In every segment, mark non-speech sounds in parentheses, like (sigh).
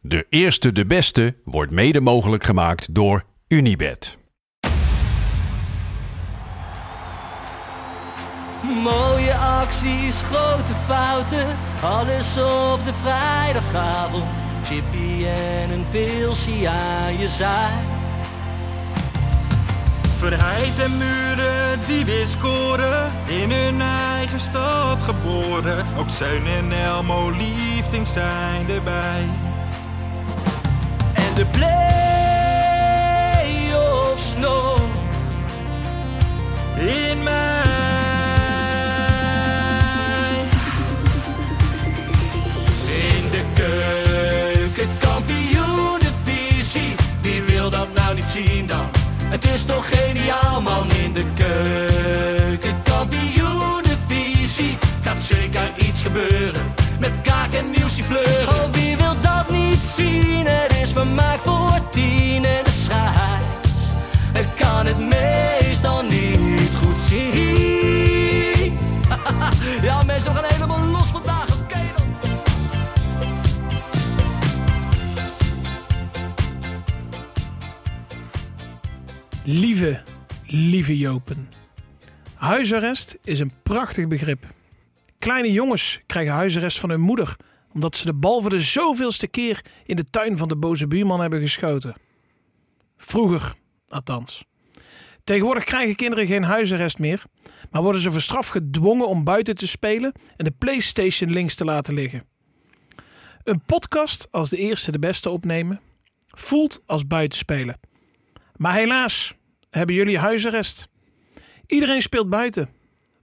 De eerste, de beste wordt mede mogelijk gemaakt door Unibed. Mooie acties, grote fouten, alles op de vrijdagavond. Chippy en een pilsie aan je zaai. Verheid en muren die weer scoren, in hun eigen stad geboren. Ook Zijn en Elmo liefding zijn erbij. En de play-offs nog. In mij. In de keuken, kampioenenvisie. Wie wil dat nou niet zien dan? Het is toch geniaal man in de keuken, kampioenenvisie. Gaat zeker iets gebeuren met kaak en nieuwsie fleuren. Oh, wie wil dat niet zien? Het is vermaakt voor tien en de scheids. Ik kan het meestal niet goed zien. (laughs) ja mensen, we gaan helemaal los vandaag, oké dan. Lieve, lieve Jopen. Huisarrest is een prachtig begrip. Kleine jongens krijgen huisarrest van hun moeder omdat ze de bal voor de zoveelste keer in de tuin van de boze buurman hebben geschoten. Vroeger, althans. Tegenwoordig krijgen kinderen geen huisarrest meer, maar worden ze voor straf gedwongen om buiten te spelen en de PlayStation links te laten liggen. Een podcast als de eerste de beste opnemen voelt als buitenspelen. Maar helaas hebben jullie huisarrest. Iedereen speelt buiten,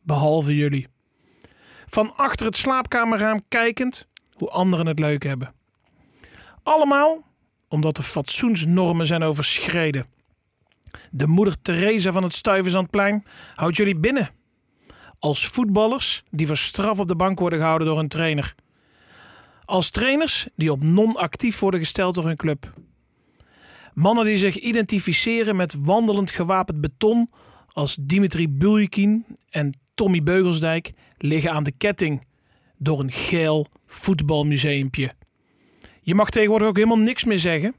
behalve jullie. Van achter het slaapkamerraam kijkend hoe anderen het leuk hebben. Allemaal omdat de fatsoensnormen zijn overschreden. De moeder Theresa van het Stuyvesantplein houdt jullie binnen. Als voetballers die voor straf op de bank worden gehouden door hun trainer. Als trainers die op non-actief worden gesteld door hun club. Mannen die zich identificeren met wandelend gewapend beton als Dimitri Buljikin en Tommy Beugelsdijk liggen aan de ketting door een geel voetbalmuseumpje. Je mag tegenwoordig ook helemaal niks meer zeggen.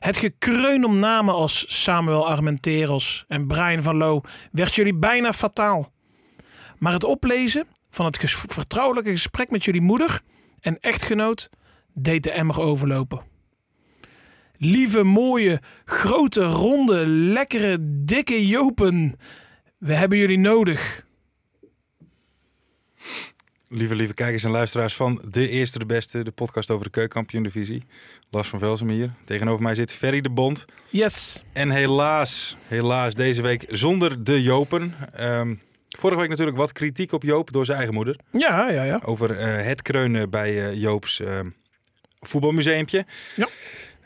Het gekreun om namen als Samuel Armenteros en Brian van Loo werd jullie bijna fataal. Maar het oplezen van het ges- vertrouwelijke gesprek met jullie moeder en echtgenoot deed de emmer overlopen lieve, mooie, grote, ronde, lekkere, dikke Jopen. We hebben jullie nodig. Lieve, lieve kijkers en luisteraars van De Eerste de Beste, de podcast over de keukenkampioen-divisie. Lars van Velsen hier. Tegenover mij zit Ferry de Bond. Yes. En helaas, helaas deze week zonder de Jopen. Ehm, vorige week natuurlijk wat kritiek op Joop door zijn eigen moeder. Ja, ja, ja. Over eh, het kreunen bij eh, Joops ehm, voetbalmuseumpje. Ja.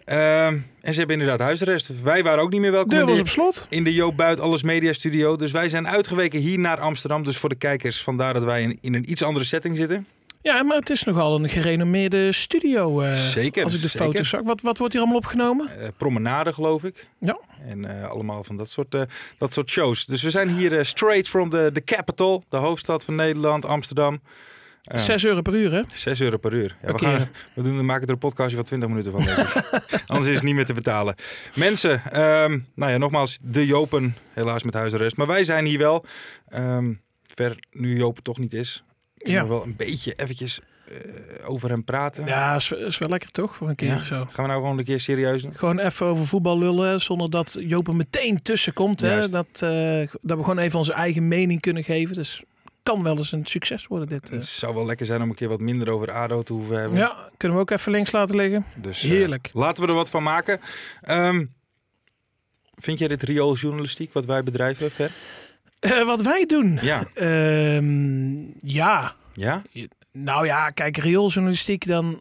Ehm, en ze hebben inderdaad huisarrest. Wij waren ook niet meer welkom. Deur in de- was op slot. in de Joop Buit Alles Media Studio. Dus wij zijn uitgeweken hier naar Amsterdam. Dus voor de kijkers, vandaar dat wij in, in een iets andere setting zitten. Ja, maar het is nogal een gerenommeerde studio. eh, Zeker, Als ik de zeker. foto's zag. Wat, wat wordt hier allemaal opgenomen? Eh, promenade, geloof ik. Ja. En eh, allemaal van dat soort, eh, dat soort shows. Dus we zijn hier eh, straight from the, the capital, de hoofdstad van Nederland, Amsterdam. Eh, Zes euro per uur, hè? 6 euro per uur. Ja, we, Parkeren. gaan, we, doen, we maken er een podcastje van 20 minuten van. denk ik. (laughs) Anders is het niet meer te betalen. Mensen, ehm, nou ja, nogmaals, de Jopen, helaas met huisarrest. Maar wij zijn hier wel. Ehm, ver nu Jopen toch niet is. Kunnen Ja. we wel een beetje eventjes eh, over hem praten. Ja, is, is wel lekker toch? Voor een keer Ja. zo. Gaan we nou gewoon een keer serieus doen? Gewoon even over voetbal lullen, zonder dat Joop er meteen tussen komt. Hè? Juist. Dat, eh, dat we gewoon even onze eigen mening kunnen geven. Dus kan wel eens een succes worden dit. eh. Het zou wel lekker zijn om een keer wat minder over ADO te hoeven hebben. Ja, kunnen we ook even links laten liggen. Dus, eh, Heerlijk. laten we er wat van maken. Ehm, vind jij dit riooljournalistiek wat wij bedrijven, Ver? Eh, wat wij doen. Ja. Ehm, ja. Ja? Nou ja, kijk, riooljournalistiek dan...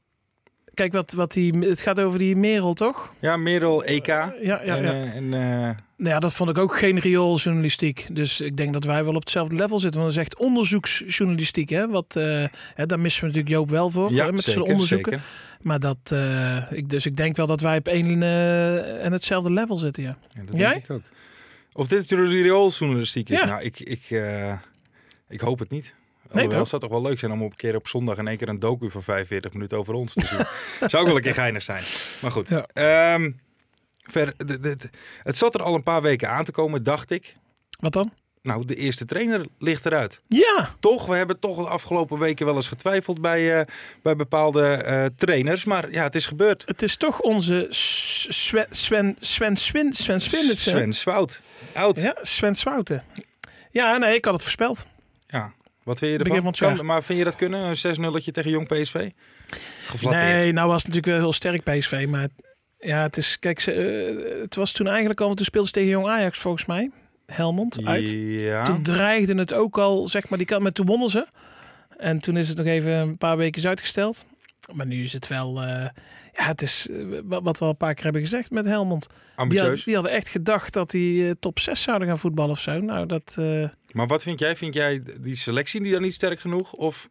Kijk, wat, wat die, het gaat over die Merel, toch? Ja, Merel EK. Ja, Ja, ja, en, ja. eh, en, eh, Nou ja, dat vond ik ook geen riooljournalistiek. Dus ik denk dat wij wel op hetzelfde level zitten. Want dat is echt onderzoeksjournalistiek. Hè? Wat, eh, hè, daar missen we natuurlijk Joop wel voor. ja, hè, met zijn zeker, onderzoeken. zeker. Maar dat, eh, ik, dus ik denk wel dat wij op één eh, en hetzelfde level zitten. Ja. Ja, dat Jij? denk ik ook. Of dit riooljournalistiek is? Ja. Nou, ik, ik, eh, ik hoop het niet. Nee, Nee, toch? het zou toch wel leuk zijn om op een keer op zondag in één keer een docu van 45 minuten over ons (laughs) te zien. zou ook wel een keer geinig zijn. Maar goed. Ja. Ehm, ver, d- d- d- het zat er al een paar weken aan te komen, dacht ik. Wat dan? Nou, de eerste trainer ligt eruit. Ja, Toch, we hebben toch de afgelopen weken wel eens getwijfeld bij, eh, bij bepaalde eh, trainers. Maar ja, het is gebeurd. het is toch onze S- Sven, Sven, Sven, Sven, Sven, Sven, Sven Swout. Oud. Ja, Sven Swouten. Ja, nee, ik had het voorspeld. Ja, wat vind je Begin ervan? van het jaar. Kan- maar vind je dat kunnen? Een 6-0 tegen Jong PSV? Geflatteerd. Nee, nou was het natuurlijk wel heel sterk PSV, maar ja, het is kijk, ze, eh, het was toen eigenlijk al, want toen speelden ze tegen Jong Ajax volgens mij, Helmond uit. Ja. Toen dreigde het ook al, zeg maar, die kant, maar toen wonnen ze. En toen is het nog even een paar weken uitgesteld. Maar nu is het wel, eh, ja, het is eh, wa- wat we al een paar keer hebben gezegd met Helmond. Die, had- Ambitieus. die hadden echt gedacht dat die eh, top 6 zouden gaan voetballen of zo. Nou, dat. eh, Maar wat vind jij? Vind jij die selectie die dan niet sterk genoeg? Of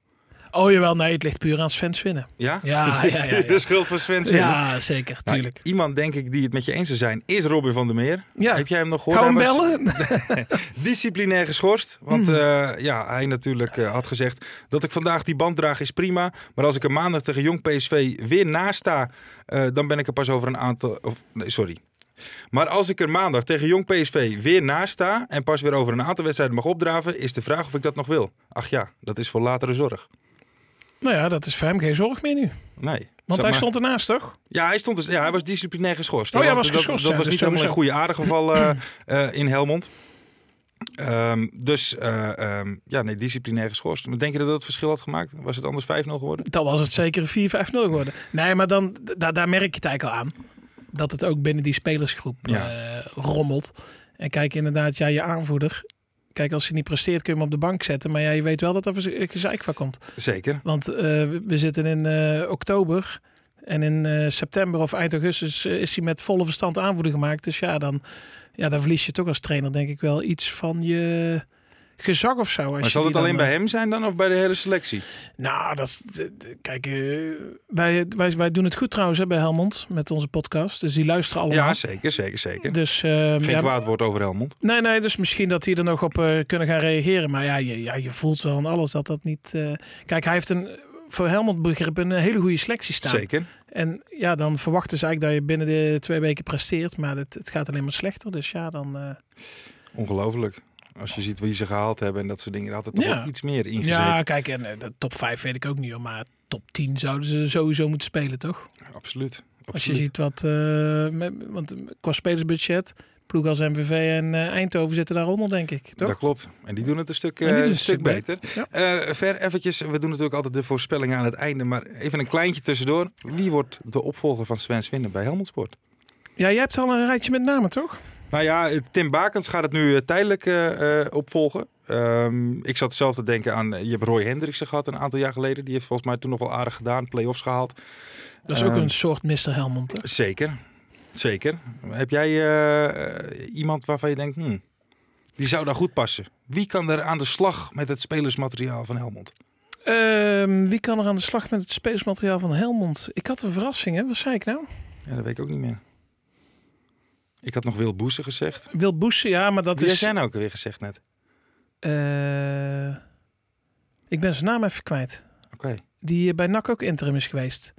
Oh jawel, nee, het ligt puur aan Sven's winnen. ja? Ja, (laughs) ja, ja, ja. de schuld van Sven. Singer. Ja, zeker, Nou, tuurlijk. iemand denk ik die het met je eens zou zijn is Robin van der Meer. Ja. Heb jij hem nog gehoord? Gaan we Hij hem was bellen? Disciplinair geschorst. Want eh, ja, hij natuurlijk eh, had gezegd dat ik vandaag die band draag is prima. Maar als ik er maandag tegen Jong PSV weer naast sta, eh, dan ben ik er pas over een aantal... Of, nee, sorry. Maar als ik er maandag tegen Jong PSV weer naast sta en pas weer over een aantal wedstrijden mag opdraven, is de vraag of ik dat nog wil. Ach ja, dat is voor latere zorg. (laughs) Nou ja, dat is voor hem geen zorg meer nu. Nee. Want Zeg hij maar- stond ernaast, toch? Ja, hij, stond dus, ja, hij was disciplinair geschorst. Oh ja, hij Want was dat- geschorst, Dat, ja, was dus niet helemaal een goede aardig geval eh, (clears throat) eh, in Helmond. Ehm, dus eh, ehm, ja, nee, disciplinair geschorst. Maar denk je dat dat het verschil had gemaakt? Was het anders 5-0 geworden? Dan was het zeker een 4-5-0 geworden. Nee, maar dan, da- daar merk je het eigenlijk al aan. Dat het ook binnen die spelersgroep Ja. eh, rommelt. En kijk, inderdaad, ja, je aanvoerder. Kijk, als hij niet presteert, kun je hem op de bank zetten. Maar ja, je weet wel dat er verze- gezeik van komt. Zeker. Want eh, we zitten in eh, oktober. En in eh, september of eind augustus eh, is hij met volle verstand aanvoerder gemaakt. Dus ja dan, ja, dan verlies je toch als trainer denk ik wel iets van je gezag of zo. Als Maar je zal die het dan, alleen eh, bij hem zijn dan of bij de hele selectie? Nou, dat is- de- de- kijk, eh, wij, wij, wij doen het goed trouwens hè, bij Helmond met onze podcast. Dus die luisteren allemaal. Ja, zeker, zeker, zeker. dus, eh, Geen ja, kwaad woord over Helmond. Nee, nee, dus misschien dat die er nog op eh, kunnen gaan reageren. Maar ja je, ja, je voelt wel aan alles dat dat niet... eh, Kijk, hij heeft een, voor Helmond begrip een eh, hele goede selectie staan. Zeker. En ja, dan verwachten ze eigenlijk dat je binnen de twee weken presteert. Maar het, het gaat alleen maar slechter. Dus ja, dan... eh, Ongelooflijk. Als je ziet wie ze gehaald hebben en dat soort dingen, daar had het toch Ja. wel iets meer in gezeten. ja, kijk, en eh, de top 5 weet ik ook niet hoor. Maar top 10 zouden ze sowieso moeten spelen, toch? Absoluut. Als je Absoluut. ziet wat, eh, met- want qua spelersbudget, ploeg als MVV en eh, Eindhoven zitten daaronder, denk ik, toch? Dat klopt. En die doen het een stuk, En die eh, doen een stuk beter. Ja. Eh, ver eventjes, we doen natuurlijk altijd de voorspellingen aan het einde, maar even een kleintje tussendoor. Wie wordt de opvolger van Sven Swinnen bij Helmond Sport? Ja, jij hebt al een rijtje met namen, toch? Nou ja, eh, Tim Bakens gaat het nu eh, tijdelijk eh, eh, opvolgen. Ehm, ik zat zelf te denken aan, eh, je hebt Roy Hendriksen gehad een aantal jaar geleden. Die heeft volgens mij toen nog wel aardig gedaan, play-offs gehaald. Dat is ook Eh. een soort Mr. Helmond. hè? Zeker, zeker. Heb jij eh, eh, iemand waarvan je denkt, hmm, die zou daar goed passen? Wie kan er aan de slag met het spelersmateriaal van Helmond? Ehm, wie kan er aan de slag met het spelersmateriaal van Helmond? Ik had een verrassing, hè? Wat zei ik nou? Ja, dat weet ik ook niet meer. Ik had nog Wil Boesen gezegd. Wil Boesen, ja, maar dat Die is... zijn nou ook weer gezegd net. eh, ik ben zijn naam even kwijt. Oké. Die eh, bij NAC ook interim is geweest.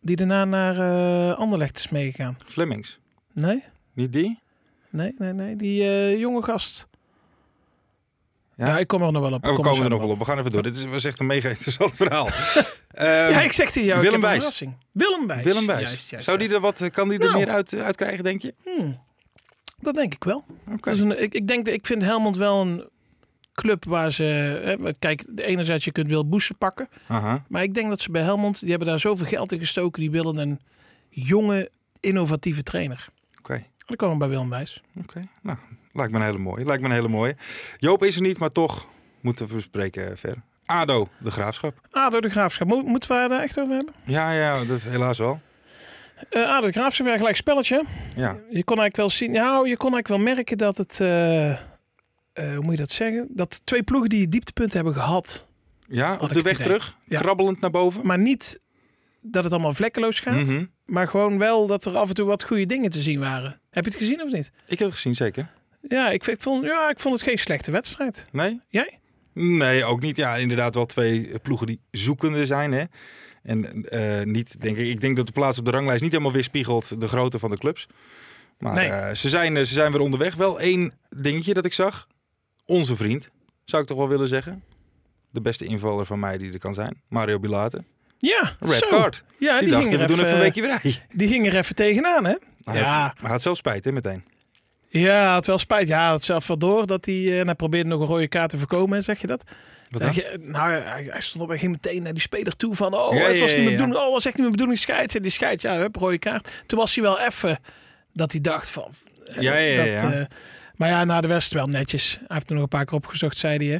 Die daarna naar eh, Anderlecht is meegegaan. Flemings. Nee? Niet die? Nee, nee, nee. Die eh, jonge gast. Ja? Ja? ik kom er nog wel op. Oh, we Ik kom komen er zo nog wel op. We gaan even door. Dit is, was echt een mega (laughs) (laughs) interessant verhaal. Ehm, Ja, ik zeg tegen jou, ik Willem heb een Wijs. verrassing. Willem Wijs. Willem Wijs. Juist, juist, Zou die juist. er wat, eh, kan die er Nou. meer uit, uit krijgen, denk je? Hmm. Dat denk ik wel. Oké. Dat is een, ik, ik, denk, dat- ik vind Helmond wel een club waar ze... Hè, maar kijk, enerzijds je kunt Wil Boesen pakken. Aha. Maar ik denk dat ze bij Helmond, die hebben daar zoveel geld in gestoken. Die willen een jonge, innovatieve trainer. Oké. Dan komen we bij Willem Wijs. Oké. Nou, lijkt me een hele mooie. Lijkt me een hele mooie. Joop is er niet, maar toch moeten we bespreken eh, ver. ADO, de Graafschap. ADO de Graafschap. Mo- moeten we het daar eh, echt over hebben? Ja, ja, dat helaas wel. Eh ADO de Graafschap weer een gelijk spelletje. Ja. Je kon eigenlijk wel zien, nou, je kon eigenlijk wel merken dat het, eh, eh, hoe moet je dat zeggen? Dat twee ploegen die dieptepunten hebben gehad, Ja, ik op de het weg idee. terug. Ja. Krabbelend naar boven. maar niet dat het allemaal vlekkeloos gaat, Mhm. maar gewoon wel dat er af en toe wat goede dingen te zien waren. Heb je het gezien of niet? Ik heb het gezien, zeker. Ja, ik, ik vond, ja, ik vond het geen slechte wedstrijd. Nee? Jij? Nee, ook niet. Ja, inderdaad wel twee ploegen die zoekende zijn. Hè? En eh, niet, denk ik, ik denk dat de plaats op de ranglijst niet helemaal weerspiegelt de grootte van de clubs. Maar Nee. eh, ze, zijn, eh, ze zijn weer onderweg. Wel één dingetje dat ik zag. Onze vriend, zou ik toch wel willen zeggen. De beste invaller van mij die er kan zijn. Mario Bilate. Ja, Red zo. card. Ja, die die, dacht, ging we er doen even even, een weekje vrij. die ging er even tegenaan, hè? Hij had- ja. Maar hij had zelf spijt, hè, meteen. Ja, had wel spijt. Ja, had zelf wel door dat hij. eh, En hij probeerde nog een rode kaart te voorkomen, zeg je dat? Wat Zeg dan? je, nou, hij, hij stond op en ging meteen naar die speler toe van. Oh, Ja, het was niet ja, ja, mijn ja. bedoeling. Oh, was echt niet mijn bedoeling. Scheids. En die scheids, ja, hup, rode kaart. Toen was hij wel even dat hij dacht van. eh, Ja, ja, ja, ja. eh, maar ja, na de wedstrijd wel netjes. Hij heeft er nog een paar keer opgezocht, zei hij. Hè,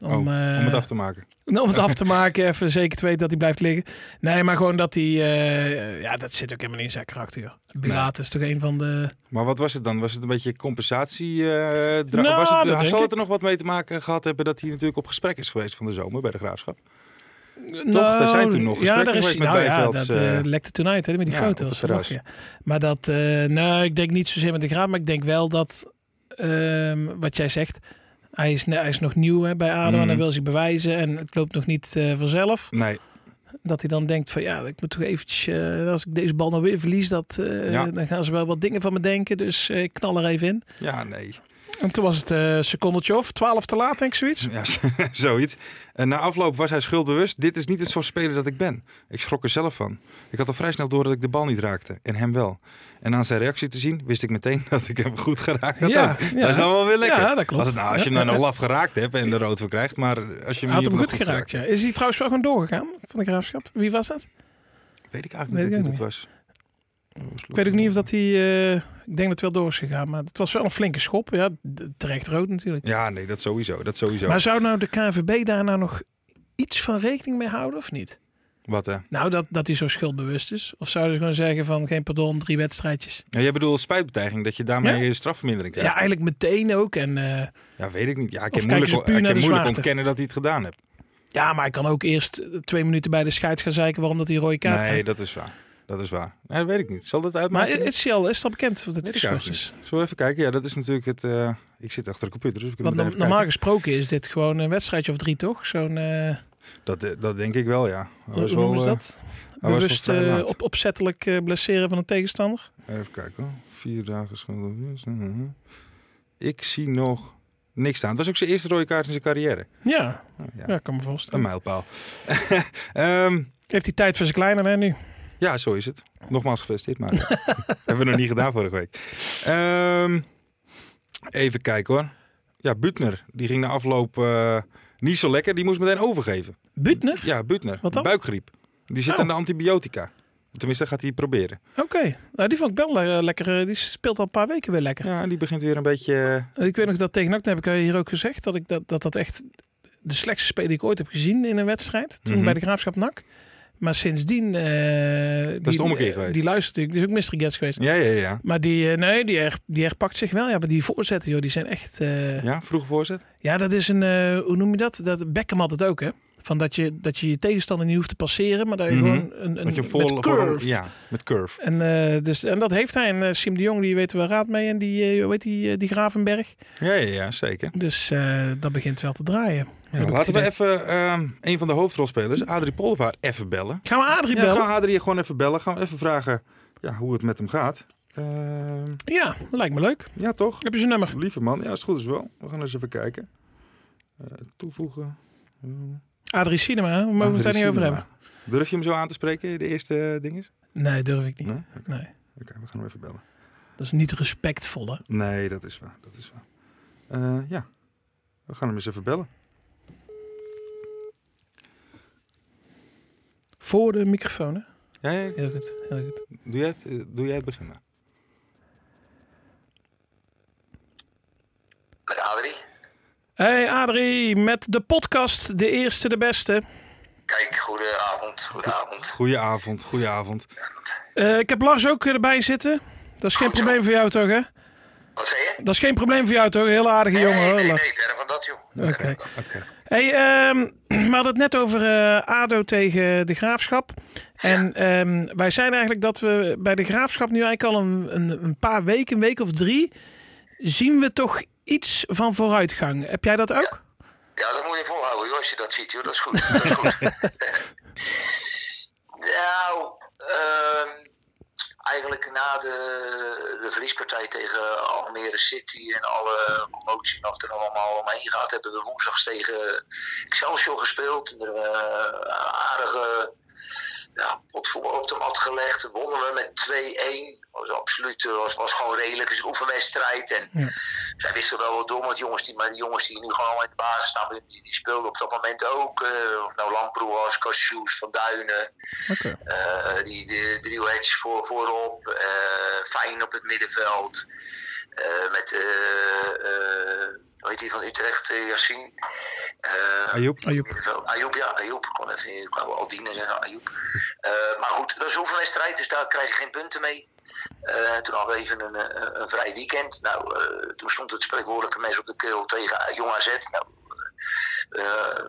Oh, om eh, het af te maken. nou, om het (laughs) af te maken, even zeker te weten dat hij blijft liggen. Nee, maar gewoon dat hij... eh, ja, dat zit ook helemaal niet in zijn karakter. joh. Bilaat is toch een van de... Maar wat was het dan? Was het een beetje compensatie? eh dra- Nou, was het, dat denk zal ik. het er nog wat mee te maken gehad hebben dat hij natuurlijk op gesprek is geweest van de zomer bij de graafschap? Nou, daar zijn toen Ja, nog gesprekken daar is geweest hij. Nou met ja, Bijvelds, dat eh eh, lekte toen uit hè, met die ja, op foto's. het terras. vanmorgen, ja. Maar dat... eh nou, ik denk niet zozeer met de graad, maar ik denk wel dat... ehm, wat jij zegt, hij is, hij is nog nieuw hè, bij ADO en Mhm. hij wil zich bewijzen. En het loopt nog niet eh, vanzelf. Nee. Dat hij dan denkt van ja, ik moet toch eventjes... eh, als ik deze bal nou weer verlies, dat, eh, Ja. dan gaan ze wel wat dingen van me denken. Dus eh, ik knal er even in. Ja, nee. (laughs) En toen was het eh, een secondetje of twaalf te laat, denk ik zoiets. Ja, (laughs) z- zoiets. En na afloop was hij schuldbewust. Dit is niet het soort speler dat ik ben. Ik schrok er zelf van. Ik had al vrij snel door dat ik de bal niet raakte. En hem wel. En aan zijn reactie te zien, wist ik meteen (laughs) dat ik hem goed geraakt had. Ja, ook. ja. Dat is dan wel weer lekker. Ja, dat klopt. Als, het nou, als je hem Ja, dan nou laf geraakt hebt en de rood voor krijgt. Maar als je Hij hem had niet hem hebt goed geraakt, ja. Is hij trouwens wel gewoon doorgegaan van de graafschap? Wie was dat? Weet ik eigenlijk Weet niet ik wie dat was. Ik weet ook niet of dat hij... eh, ik denk dat het wel door is gegaan, maar het was wel een flinke schop. Ja, d- terecht rood natuurlijk. Ja, nee, dat sowieso. Dat sowieso. Maar zou nou de KNVB daarna nog iets van rekening mee houden of niet? Wat eh, hè? Nou, dat, dat hij zo schuldbewust is. Of zouden ze gewoon zeggen van geen pardon, drie wedstrijdjes? Ja, Nou, jij bedoelt spijtbetuiging, dat je daarmee een strafvermindering Ja, krijgt? Ja. eigenlijk meteen ook. En, eh, weet ik niet. Ja, ik Of heb kijken moeilijk, ze puur naar ik heb de moeilijk zwaarte? ontkennen dat hij het gedaan hebt. ja, maar hij kan ook eerst eh, twee minuten bij de scheids gaan zeiken waarom dat hij een rode kaart nee, krijgt. dat is waar. Dat is waar. Nee, dat weet ik niet. Zal dat Maar uitmaken? is, hij al- is dat bekend wat het Weet ik eigenlijk geschorst is? niet. Zullen we even kijken? Ja, dat is natuurlijk het... eh, ik zit achter de computer, dus ik Want kan no- normaal gesproken is dit gewoon een wedstrijdje of drie, toch? Zo'n, eh Dat, eh, dat denk ik wel, ja. Hij hoe was noemen wel, ze eh, dat? wel Bewust vrij eh, laat. op, opzettelijk eh, blesseren van een tegenstander? eh, Even kijken hoor. Vier dagen schulden. Mhm. Ik zie nog niks staan. Het was ook zijn eerste rode kaart in zijn carrière. Ja, Nou, ja, ja, kan me Een voorstellen. mijlpaal. (laughs) Ehm Heeft hij tijd voor zijn kleiner hè, nu? Ja, zo is het. Nogmaals gefeliciteerd, (laughs) maar hebben we nog niet gedaan vorige week. Ehm, even kijken hoor. Ja, Butner, die ging na afloop eh, niet zo lekker. Die moest meteen overgeven. Butner? Ja, Butner. Wat dan? Buikgriep. Die zit Oh. aan de antibiotica. Tenminste, dat gaat hij proberen. Oké. Nou, die vond ik wel le- lekker. eh, Die speelt al een paar weken weer lekker. Ja, en die begint weer een beetje... eh, Ik weet nog dat tegen NAC, dat heb ik eh, hier ook gezegd, dat ik dat, dat, dat echt de slechtste speler die ik ooit heb gezien in een wedstrijd. Toen Mhm. bij de Graafschap NAC. Maar sindsdien... eh dat de ommekeer geweest. Die luistert natuurlijk. Die is ook Mr. Gets geweest. Ja, ja, ja. Maar die, eh, nee, die, her, die herpakt zich wel. Ja, maar die voorzetten, joh, die zijn echt... eh, ja. Ja, vroege voorzet. dat is een... eh, hoe noem je dat? dat Beckham had het ook, hè? Van dat je dat je, je tegenstander niet hoeft te passeren, maar dat je Mhm. gewoon een, een Met je met vol- curve. Ja, met curve. En, eh, dus, en dat heeft hij. En eh, Siem de Jong, die weet er wel raad mee. En die, eh, hoe heet die, eh, die Gravenberg. Ja, ja, ja zeker. Dus eh, dat begint wel te draaien. Heb ik Ja, het laten we idee. even ehm, een van de hoofdrolspelers, Adrie Polvaar, even bellen. Gaan we Adrie Ja, bellen? gaan we Adrie gewoon even bellen. Gaan we even vragen ja, hoe het met hem gaat. Ehm, Ja, dat lijkt me leuk. ja, toch? Heb je zijn nummer? Lieve man. Ja, als het goed is wel. We gaan eens even kijken. Eh, toevoegen. Ehm, Adrie Cinema, hè? we mogen het daar niet over hebben. Durf je hem zo aan te spreken, de eerste eh, ding is? Nee, durf ik niet. Nee? Nee. Oké, we gaan hem even bellen. Dat is niet respectvol, hè? Nee, dat is waar. Dat is waar. Eh, ja, we gaan hem eens even bellen. Voor de microfoon, hè? Ja, ja, Heel goed, heel goed. doe, jij het, eh, doe jij het begin maar. Met Adrie? Hey Adrie, met de podcast De Eerste de Beste. Kijk, goedenavond, goedenavond. Goedenavond, goedenavond. Eh, ik heb Lars ook erbij zitten. Dat is geen Goed zo. probleem voor jou toch, hè? Wat zei je? Dat is geen probleem voor jou toch? Een Heel aardige jongen nee, hoor, nee, nee, Lars. verder van dat joh. Oké. Oké. Hey, ehm, we hadden het net over eh, ADO tegen de Graafschap. En ehm, wij zijn eigenlijk dat we bij de Graafschap nu eigenlijk al een, een, een paar weken, een week of drie, zien we toch iets van vooruitgang. Heb jij dat ook? Ja, dat moet je volhouden joh, als je dat ziet joh, dat is goed. Dat is goed. (laughs) nou, ehm, eigenlijk na de, de verliespartij tegen Almere City en alle promotie en of er nog allemaal omheen gaat, hebben we woensdags tegen Excelsior gespeeld. En er hebben we een aardige ja, potvoetbal op de mat gelegd. Wonnen we met 2-1. Was absoluut, eh, was, was gewoon redelijk. Het is een oefenwedstrijd. En zij wisten wel wat door met jongens die, maar die jongens die nu gewoon in de basis staan, die, die speelden op dat moment ook. eh, of nou Lamproe was, Cassius, Van Duinen. Eh, die de driehoedjes voor, voorop. eh Fijn op het middenveld. Eh, met, eh eh, hoe heet die van Utrecht, eh, Yassine? Eh, Ajoep. Ajoep. middenveld. Ajoep, ja, Ajoep. Ik kon even, ik wou Aldine zeggen, Ajoep. Eh, maar goed, dat is een oefenwedstrijd, dus daar krijg je geen punten mee. Eh, toen hadden we even een, eh, een vrij weekend. Nou, eh, toen stond het spreekwoordelijke mes op de keel tegen eh, Jong AZ. Nou, eh,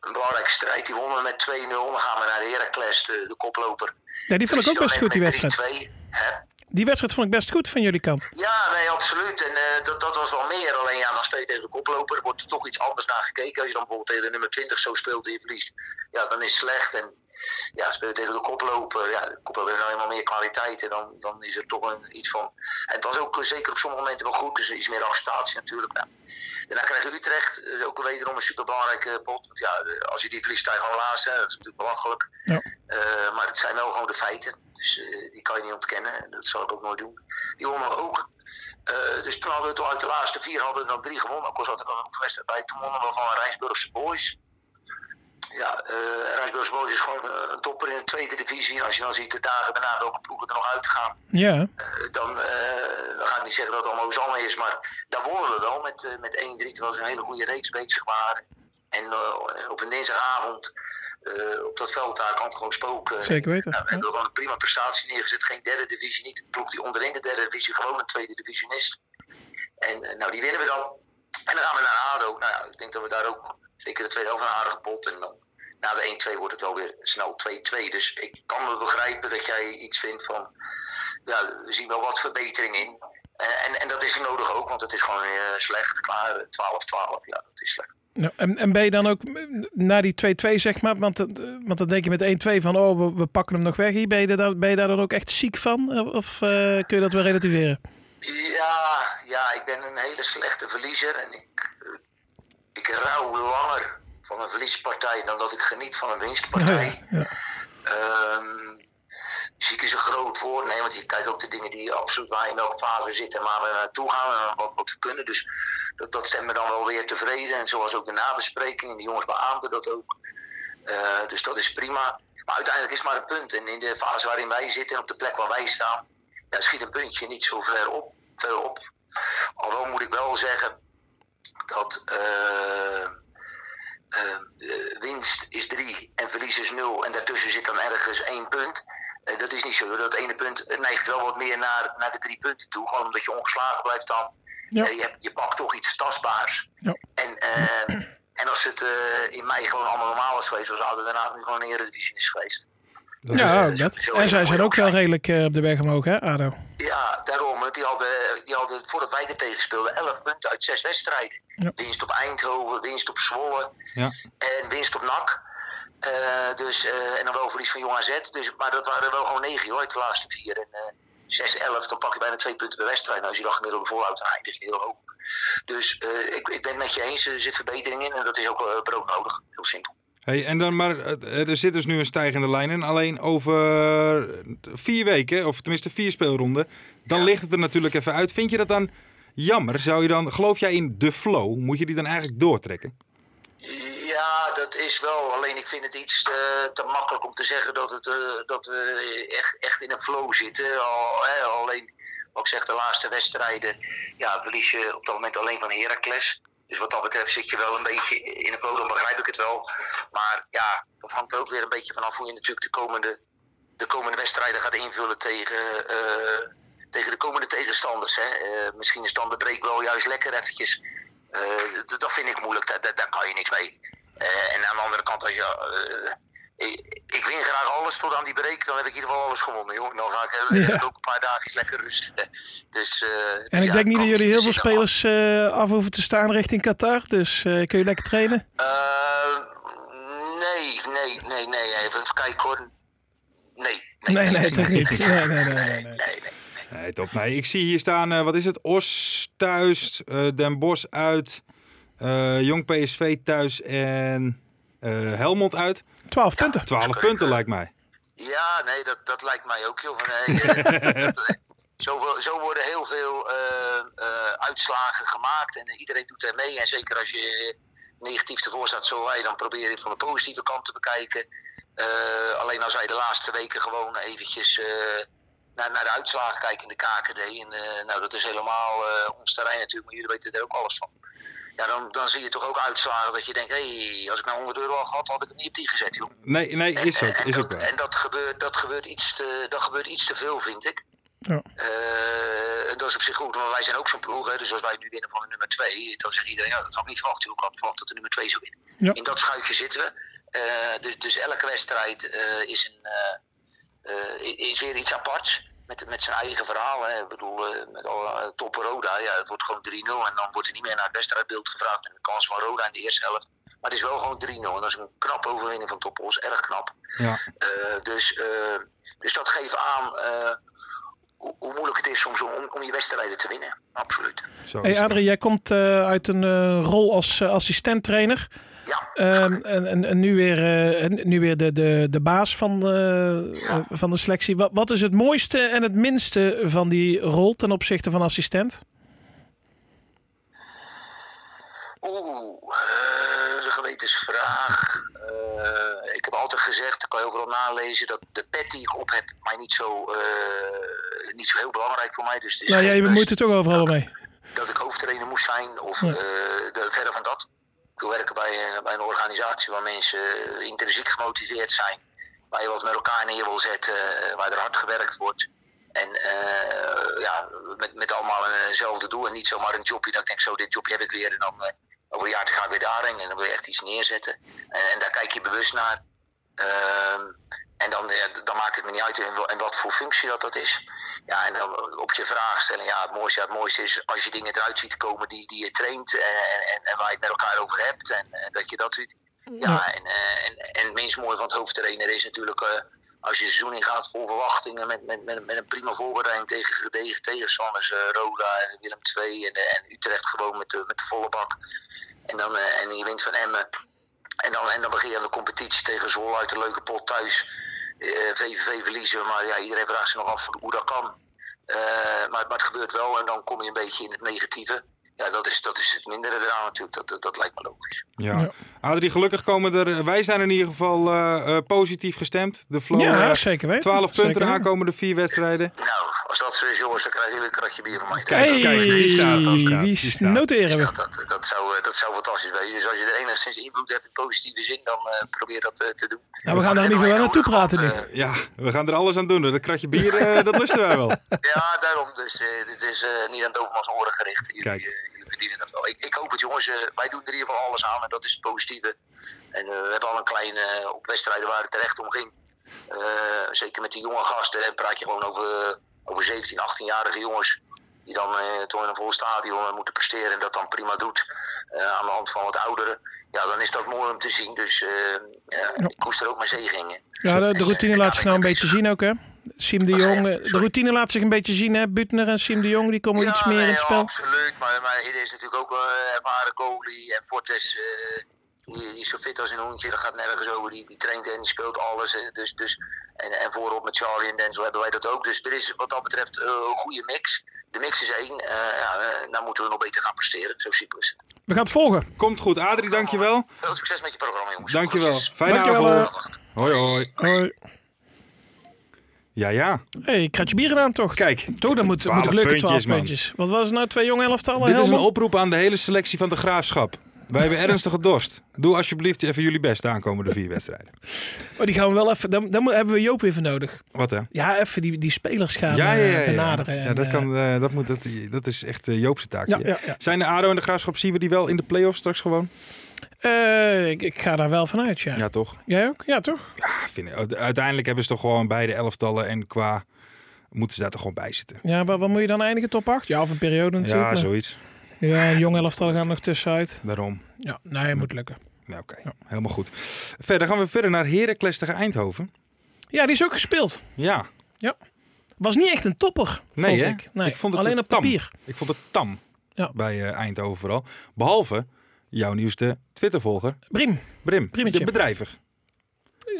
een belangrijke strijd. Die wonnen we met 2-0. Dan gaan we naar Heracles, de, de koploper. Ja, die vond ik ook best goed, die wedstrijd. 3-2, hè? Die wedstrijd vond ik best goed van jullie kant. Ja, nee, absoluut. En eh, dat, dat was wel meer. Alleen ja, dan speel je tegen de koploper. Er wordt er toch iets anders naar gekeken. Als je dan bijvoorbeeld tegen de nummer 20 zo speelt en je verliest. Ja, dan is het slecht. En ja, speel je tegen de koploper. Ja, de koploper heeft nou helemaal meer kwaliteit. En dan, dan is er toch een, iets van... En het was ook eh, zeker op sommige momenten wel goed. Dus er is meer arrestatie natuurlijk. Nou, daarna krijg je Utrecht. eh, ook wederom een superbelangrijke pot. Want ja, eh, als je die verliest, sta je gewoon laatste. hè. Dat is natuurlijk belachelijk. Ja. Eh, maar het zijn wel gewoon de feiten. Dus eh, die kan je niet ontkennen. En dat zal ik ook nooit doen. Die wonnen we ook. Eh, dus toen hadden we toch uit de laatste vier hadden we dan drie gewonnen. Ook al zat er nog een wedstrijd bij. Toen wonnen we van Rijnsburgse Boys. Ja, eh Rijnsburgse Boys is gewoon eh, een topper in de tweede divisie. En als je dan ziet de dagen daarna welke ploegen er nog uitgaan. Ja, Eh, dan, eh, dan ga ik niet zeggen dat het allemaal Ozanne is, maar daar wonnen we wel met, eh, met 1-3, terwijl ze een hele goede reeks bezig waren. En eh, op een dinsdagavond eh, op dat veld daar kan het gewoon spoken. Zeker weten, Nou, we ja. hebben gewoon een prima prestatie neergezet. Geen derde divisie, niet de ploeg die onderin de derde divisie, gewoon een tweede divisionist. En eh, nou, die winnen we dan. En dan gaan we naar ADO. Nou ja, ik denk dat we daar ook zeker de tweede helft een aardige pot. En dan na de 1-2 wordt het wel weer snel 2-2. Dus ik kan me begrijpen dat jij iets vindt van... Ja, we zien wel wat verbetering in. Eh, en, en dat is nodig ook, want het is gewoon eh, slecht. Klaar, 12-12, ja, dat is slecht. Nou, en, en ben je dan ook mm, na die 2-2, zeg maar, want, dat- want dan denk je met 1-2 van, oh, we, we pakken hem nog weg. hier. Ben je, daar, ben je daar dan ook echt ziek van? Of eh, kun je dat wel relativeren? Ja, ja, ik ben een hele slechte verliezer. En ik, eh, ik rouw langer van een verliespartij dan dat ik geniet van een winstpartij. Ehm, ziek is een groot woord, nee, want je kijkt ook de dingen die absoluut waar in welke fase zitten, waar we naartoe gaan en wat, wat we kunnen. Dus dat, dat stemt me dan wel weer tevreden. En zoals ook de nabespreking, en de jongens beaamden dat ook. Eh, dus dat is prima. Maar uiteindelijk is het maar een punt. En in de fase waarin wij zitten en op de plek waar wij staan, ja, schiet een puntje niet zo ver op. Ver op. Alhoewel moet ik wel zeggen dat. eh, Ehm, eh, winst is 3 en verlies is 0 en daartussen zit dan ergens één punt. Eh, dat is niet zo. Dat ene punt eh, neigt wel wat meer naar, naar de drie punten toe. Gewoon omdat je ongeslagen blijft dan. Ja. Eh, je, hebt- je pakt toch iets tastbaars. Ja. En, ehm, (clears throat) en als het eh, in mei gewoon allemaal normaal was geweest, was Aden daarna nu gewoon een Eredivisie is geweest. Ja, eh, dat. zo En zij zijn erg ook moet je wel ook zijn. redelijk eh, op de weg omhoog, hè, Ado? Ja, daarom. want Die hadden, die hadden voordat wij er tegen speelden 11 punten uit 6 wedstrijden. Ja. Winst op Eindhoven, winst op Zwolle Ja. en winst op NAC. Eh, dus, eh, en dan wel verlies van Jong AZ. Dus, maar dat waren wel gewoon 9 hoor, uit de laatste vier. En eh 6-11, dan pak je bijna 2 punten per wedstrijd. Nou, als je dat gemiddelde volhoudt, dan eindig je heel hoog. Dus eh, ik, ik ben het met je eens, er zit verbetering in en dat is ook eh, brood nodig. Heel simpel. Hey, en dan maar, eh, er zit dus nu een stijgende lijn in. Alleen over vier weken, of tenminste vier speelronden, dan ligt het er natuurlijk even uit. Vind je dat dan jammer? Zou je dan, geloof jij in de flow? Moet je die dan eigenlijk doortrekken? Ja, dat is wel. Alleen ik vind het iets eh, te makkelijk om te zeggen dat, het, eh, dat we echt, echt in een flow zitten. Al, hè, alleen, wat ik zeg, de laatste wedstrijden ja, verlies je op dat moment alleen van Heracles. Dus wat dat betreft zit je wel een beetje in de flow, dan begrijp ik het wel. Maar ja, dat hangt er ook weer een beetje vanaf hoe je natuurlijk de komende, de komende wedstrijden gaat invullen tegen, eh, tegen de komende tegenstanders. Hè. Eh, misschien is dan de break wel juist lekker eventjes. Eh, d- dat vind ik moeilijk, daar, daar, daar kan je niks mee. Eh, en aan de andere kant, als je, eh, ik, ik win graag alles tot aan die break, dan heb ik in ieder geval alles gewonnen. Joh. Dan ga ik eh, Ja. ook een paar dagen lekker rust. Dus, eh, En ik ja, denk niet kan dat jullie heel veel Dus dan- spelers eh, af hoeven te staan richting Qatar. Dus eh, kun je lekker trainen. Eh, nee, nee, nee, nee. Even kijken hoor. Nee. Nee, nee, toch niet. Nee, nee, nee, nee, nee. nee, nee. Nee, top. Nee, ik zie hier staan, eh, wat is het? Os thuis, eh, Den Bosch uit, eh, Jong PSV thuis en eh, Helmond uit. 12 punten. 12 punten lijkt mij. Ja, nee, dat, dat lijkt mij ook, joh. Nee, eh, dat, eh, zo, wo- zo worden heel veel eh, eh, uitslagen gemaakt en eh, iedereen doet er mee. En zeker als je eh, negatief ervoor staat, zoals wij, dan probeer je het van de positieve kant te bekijken. Eh, alleen als wij de laatste weken gewoon eventjes eh, naar, naar de uitslagen kijken in de KKD. En eh, nou, dat is helemaal eh, ons terrein natuurlijk, maar jullie weten er ook alles van. Ja, dan, dan zie je toch ook uitslagen dat je denkt, hé, hey, als ik nou 100 euro had gehad, had ik het niet op die gezet, joh. Nee, nee, is ook, En- en is ook dat, wel. en dat gebeurt, dat, gebeurt iets te, dat gebeurt iets te veel, vind ik. Ja. Eh, en dat is op zich goed, want wij zijn ook zo'n ploeg. Hè, dus als wij nu winnen van de nummer 2, dan zegt iedereen: ja, dat had ik niet verwacht. joh. Ik had verwacht dat de nummer 2 zou winnen. Ja. In dat schuitje zitten we. Eh, dus, dus elke wedstrijd eh, is, een, eh, eh, is weer iets aparts. Met, met zijn eigen verhaal. Hè. Ik bedoel, eh, met al, eh, toppen Roda. Ja, het wordt gewoon 3-0. En dan wordt er niet meer naar het wedstrijdbeeld gevraagd. En de kans van Roda in de eerste helft. Maar het is wel gewoon 3-0. En dat is een knappe overwinning van Toppos. Erg knap. Ja. Eh, dus, eh, dus dat geeft aan eh, hoe, hoe moeilijk het is soms om, om je wedstrijden te winnen. Absoluut. Zo is Hey het. Adrie, jij komt eh, uit een eh, rol als eh, assistent-trainer. Ja, Ehm, en, en, en nu weer, eh, en nu weer de, de, de baas van, eh, eh, van de selectie. Wat, wat is het mooiste en het minste van die rol ten opzichte van assistent? Oeh, eh, dat is een gewetensvraag. Eh, ik heb altijd gezegd, dat kan je overal nalezen, dat de pet die ik op heb mij niet zo, eh, niet zo heel belangrijk voor mij. Dus het is Nou ja, geen je best bemoeit er toch overal mee. dat ik hoofdtrainer moest zijn of eh, de- verder van dat. Ik wil werken bij een, bij een organisatie waar mensen eh, intrinsiek gemotiveerd zijn. Waar je wat met elkaar neer wil zetten, eh, waar er hard gewerkt wordt. En eh, ja, met, met allemaal een- eenzelfde doel en niet zomaar een jobje. Dat ik denk, zo dit jobje heb ik weer en dan eh, over een jaar ga ik weer daarheen. En dan wil je echt iets neerzetten. En, en daar kijk je bewust naar. Ehm, en dan, ja, dan maakt het me niet uit in, wel- in wat voor functie dat, dat is. Ja, en dan eh, op je vraag stellen, ja, het mooiste, ja, het mooiste is als je dingen eruit ziet komen die, die je traint eh, en, en, en waar je het met elkaar over hebt en, eh, dat je dat ziet. Ja, en, eh, en, en het minst mooie van het hoofdtrainer is natuurlijk eh, als je het seizoen ingaat vol verwachtingen met, met, met, met een prima voorbereiding tegen gedegen tegenstanders, eh, Roda en Willem II en, eh, en Utrecht gewoon met de, met de volle bak. En, dan, eh, en je wint van Emmen. En dan, en dan begin je aan de competitie tegen Zwolle uit een leuke pot thuis. Eh, VVV verliezen, maar ja, iedereen vraagt zich nog af hoe dat kan. Eh, maar, maar het gebeurt wel en dan kom je een beetje in het negatieve. Ja, dat is, dat is het mindere eraan natuurlijk. Dat, dat, dat lijkt me logisch. Ja. Adrie, gelukkig komen er. eh, Wij zijn in ieder geval eh, eh, positief gestemd. De flow. Ja, eh, zeker weten. 12 Zeker punten de weten. aankomende vier wedstrijden. Nou, als dat zo is, jongens, dan krijg je een kratje bier van mij. Kijk, kijk, die staat, die staat, wie die s- staat. noteren we? Ja, dat, dat, zou, eh, dat zou fantastisch zijn. Dus als je er enigszins invloed hebt in positieve zin, dan eh, probeer dat eh, te doen. Nou, we gaan daar in ieder geval wel naartoe praten, eh, Nick. Ja, we gaan er alles aan doen. hoor. Dat kratje bier, eh, dat lusten wij wel. Ja, daarom. Dus eh, dit is eh, niet aan Dovermans oren gericht. Jullie, Kijk. eh, jullie verdienen dat wel. Ik, ik hoop het, jongens. Eh, wij doen er in ieder geval alles aan en dat is het positieve. En eh, we hebben al een kleine eh, op wedstrijden waar het terecht om ging. Eh, zeker met die jonge gasten hè, praat je gewoon over, eh, over 17, 18-jarige jongens. Die dan eh, toch in een vol stadion eh, moeten presteren en dat dan prima doet. eh, aan de hand van wat ouderen. Ja, dan is dat mooi om te zien. Dus eh, ja, ik koester ook mijn zegingen. Ja, de, de routine laat zich nou een beetje zien ook, hè? Siem de Wat zei Jong. je? eh, De Sorry. routine laat zich een beetje zien, hè? Butner en Siem de Jong, die komen iets meer nee, in het ja, spel. Absoluut, maar, maar hier is natuurlijk ook eh, ervaren goalie en Fortes. eh, die, die is zo fit als een hoentje, dat gaat nergens over. Die, die traint en die speelt alles. eh, dus, dus, en, en voorop met Charlie en Denzel hebben wij dat ook. Dus er is wat dat betreft eh, een goede mix. De mix is één. eh ja, eh, nou moeten we nog beter gaan presteren. Zo simpel is het. We gaan het volgen. Komt goed. Adrie, dankjewel. Veel succes met je programma, jongens. Dankjewel. eh. Groetjes. Fijne Dankjewel, avond. Hoi, hoi. Hoi. Ja, ja. hey, ik kratje bier aan toch? Kijk. Toch, dat moet, moet 12 het lukken, puntjes, 12 man. puntjes. Wat was het nou, twee jonge elftallen? Dit is een Helmond? oproep aan de hele selectie van de Graafschap. Wij hebben ernstige dorst. Doe alsjeblieft even jullie best de aankomende vier wedstrijden. Oh, die gaan we wel even, dan, dan mo- hebben we Joop weer voor nodig. Wat hè? Ja, even die, die spelers gaan eh, benaderen. Ja, en, dat, eh, kan, eh, dat, moet, dat, dat is echt eh, Joopse taak. Ja, hier. ja, ja. Zijn de ADO en de Graafschap, zien we die wel in de play-offs straks gewoon? eh, ik, ik ga daar wel van uit, ja. Ja, toch? Jij ook? Ja, toch? Ja, vind ik, uiteindelijk hebben ze toch gewoon beide elftallen en qua moeten ze daar toch gewoon bij zitten. Ja, waar, waar moet je dan eindigen? Top 8? Ja, of een periode natuurlijk. Ja, maar- zoiets. Ja, een jong elftal gaan er nog tussenuit. Daarom. Ja, nee, moet lukken. Ja, oké. Helemaal goed. Verder gaan we verder naar Heracles tegen Eindhoven. Ja, die is ook gespeeld. Ja. Was niet echt een topper, Nee, vond hè? ik. Nee, Ik vond het alleen een op tam. papier. Ik vond het tam Ja. bij eh, Eindhoven vooral. Behalve jouw nieuwste Twittervolger, Brim, Brim. Primmetje. De bedrijver.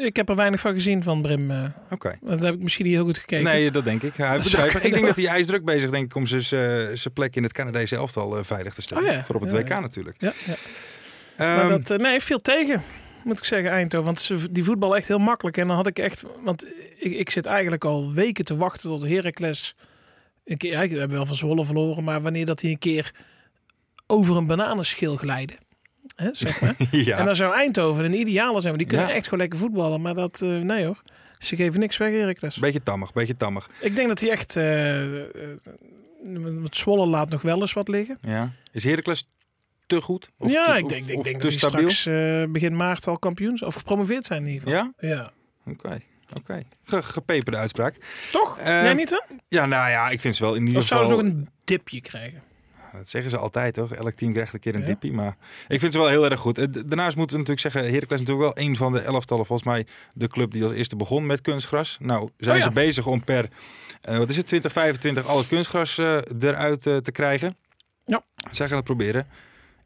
ik heb er weinig van gezien van Brim. eh, Oké. dat heb ik misschien niet heel goed gekeken. Nee, dat denk ik. Dat Hij zou bedrijver. kunnen, Ik denk dat hij ijsdruk bezig denk ik, om zijn- zijn zijn plek in het Canadese elftal eh, veilig te stellen. Oh ja, Voor op het ja, WK ja. natuurlijk. Ja, ja. Ehm, Maar dat, eh, nee, viel tegen, moet ik zeggen, Eindhoven. Want ze, die voetbal echt heel makkelijk. En dan had ik echt, want ik, ik zit eigenlijk al weken te wachten tot Heracles. Een keer, ja, ik heb wel van Zwolle verloren, maar wanneer dat hij een keer over een bananenschil glijden. Hè, zeg maar. (laughs) (laughs) ja. En dan zou Eindhoven een ideale zijn, want die kunnen Ja. echt gewoon lekker voetballen. Maar dat, eh, nee hoor. Ze geven niks weg, Heracles. Beetje tammig, beetje tammig. Ik denk dat hij echt, eh, eh, want Zwolle laat nog wel eens wat liggen. Ja. Is Heracles te goed? Of ja, te- ik of- denk, ik of denk te dat die stabiel? straks eh, begin maart al kampioens of gepromoveerd zijn in ieder geval. Ja? Oké. Oké. Ge- gepeperde uitspraak. Toch? Eh, nee, niet hè? Ja, nou ja, ik vind ze wel in ieder Of geval... zouden ze nog een dipje krijgen? Nou, Dat zeggen ze altijd, toch? Elk team krijgt een keer een Ja. dippie. Maar ik vind ze wel heel erg goed. Eh, d- Daarnaast moeten we natuurlijk zeggen... Heracles is natuurlijk wel een van de elftallen. Volgens mij de club die als eerste begon met kunstgras. Nou, zijn Oh ja. ze bezig om per... eh, wat is het? 2025 al het kunstgras eh, eruit eh, te krijgen. Ja. Zij gaan het proberen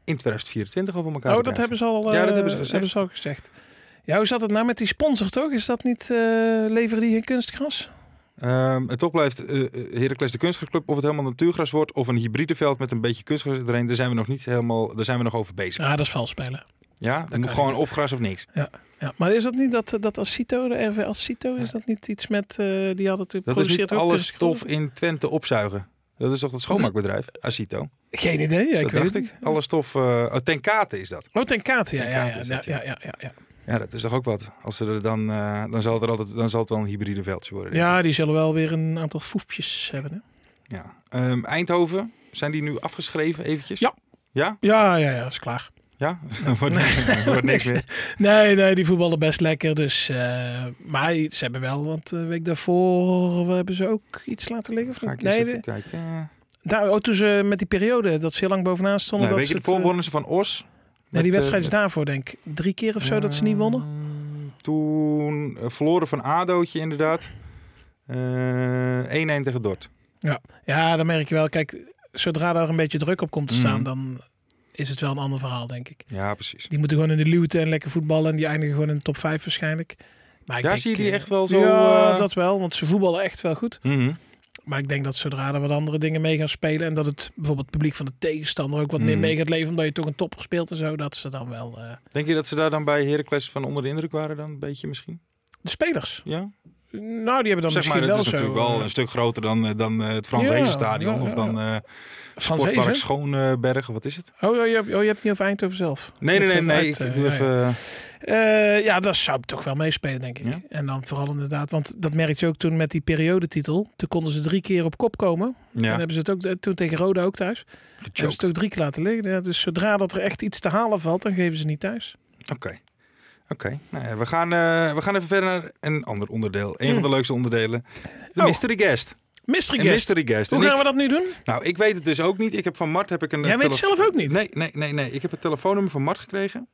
in 2024 over elkaar Oh, te dat krijgen. hebben ze al, eh, Ja, dat hebben ze gezegd. al gezegd. Ja, hoe zat het nou met die sponsor toch? Is dat niet eh, leveren die geen kunstgras? Ehm, en toch blijft eh eh, Heracles de kunstgrasclub. Of het helemaal natuurgras wordt of een hybride veld met een beetje kunstgras erin. Daar zijn we nog niet helemaal... Daar zijn we nog over bezig. Ja, Ah, dat is vals spelen. Ja, kan moet ik gewoon niet. of gras of niks. Ja. Ja, maar is dat niet dat, eh, dat Acito, de RV Acito, is dat niet iets met, eh, die had het Dat is produceert niet ook alle kunstgras? stof in Twente opzuigen. Dat is toch dat (laughs) schoonmaakbedrijf, Acito? Geen idee, ja, ik dat weet dacht het. ik. Alle stof, eh oh, ten kate is dat. Oh, ten kate, ja, Ten ja, Kate ja, is ja, dat, ja. ja, ja, ja, ja. Ja, dat is toch ook wat. Als ze er dan, eh, dan, zal het er altijd, dan zal het wel een hybride veldje worden. denk ik. Ja, die zullen wel weer een aantal foefjes hebben, hè? ja. Ehm, Eindhoven, zijn die nu afgeschreven eventjes? Ja. Ja? Ja, ja, ja, is klaar. Ja? (laughs) wordt, niks- wordt niks Niks. meer. (laughs) Nee, nee, die voetballen best lekker. Dus, eh, maar ze hebben wel, want de week daarvoor we hebben ze ook iets laten liggen. Of Ga niet? ik eens nee, even de- kijken. Eh, daar, oh, toen ze met die periode, dat ze heel lang bovenaan stonden. nee, dat weet je, ze het, de eh, voorwonnen ze van Os. nee, met, die wedstrijd eh, is daarvoor, denk ik. Drie keer of zo dat ze niet wonnen. Ehm, Toen eh, verloren van Adootje inderdaad. Eh, 1-1 tegen Dort. Ja, dan merk je wel. Kijk, zodra daar een beetje druk op komt te staan, Mhm. dan is het wel een ander verhaal, denk ik. Ja, precies. Die moeten gewoon in de luwte en lekker voetballen. En die eindigen gewoon in de top 5 waarschijnlijk. Maar ik Daar denk, zie je die eh, echt wel zo, Ja, eh, dat wel. Want ze voetballen echt wel goed. Mhm. Maar ik denk dat zodra er wat andere dingen mee gaan spelen en dat het bijvoorbeeld het publiek van de tegenstander ook wat meer Mm. mee gaat leven, omdat je toch een topper speelt en zo, dat ze dan wel eh, Denk je dat ze daar dan bij Heracles van onder de indruk waren dan? Een beetje misschien? de spelers. Ja? Nou, die hebben dan zeg misschien maar, dat wel is zo. natuurlijk wel een stuk groter dan, eh, dan eh, het Frans Ja, Hezenstadion. ja, ja, Of dan eh Frans Sportpark Hezen. Schoonberg. Wat is het? Oh, oh, je, hebt- oh, je hebt het niet over Eindhoven zelf. Nee, nee, Je nee. hebt het nee. over uit, ik doe eh, even... ja, eh, ja. Eh, ja, dat zou toch wel meespelen, denk ik. Ja. En dan vooral inderdaad, want dat merk je ook toen met die periodetitel. Toen konden ze drie keer op kop komen. En ja, hebben ze het ook eh, toen tegen Roda ook thuis. Hebben ze gechoked. het ook drie keer laten liggen. Ja, dus zodra dat er echt iets te halen valt, dan geven ze niet thuis. Oké. Oké, nou ja, we, gaan, eh, we gaan even verder naar een ander onderdeel. Een van de leukste onderdelen. De Hmm. Oh. Mystery Guest. Mystery Een Guest. mystery guest. Hoe En gaan ik- we dat nu doen? Nou, ik weet het dus ook niet. Ik heb van Mart heb ik een. Jij weet het tele- zelf ook niet? Nee, nee, nee, nee. Ik heb het telefoonnummer van Mart gekregen.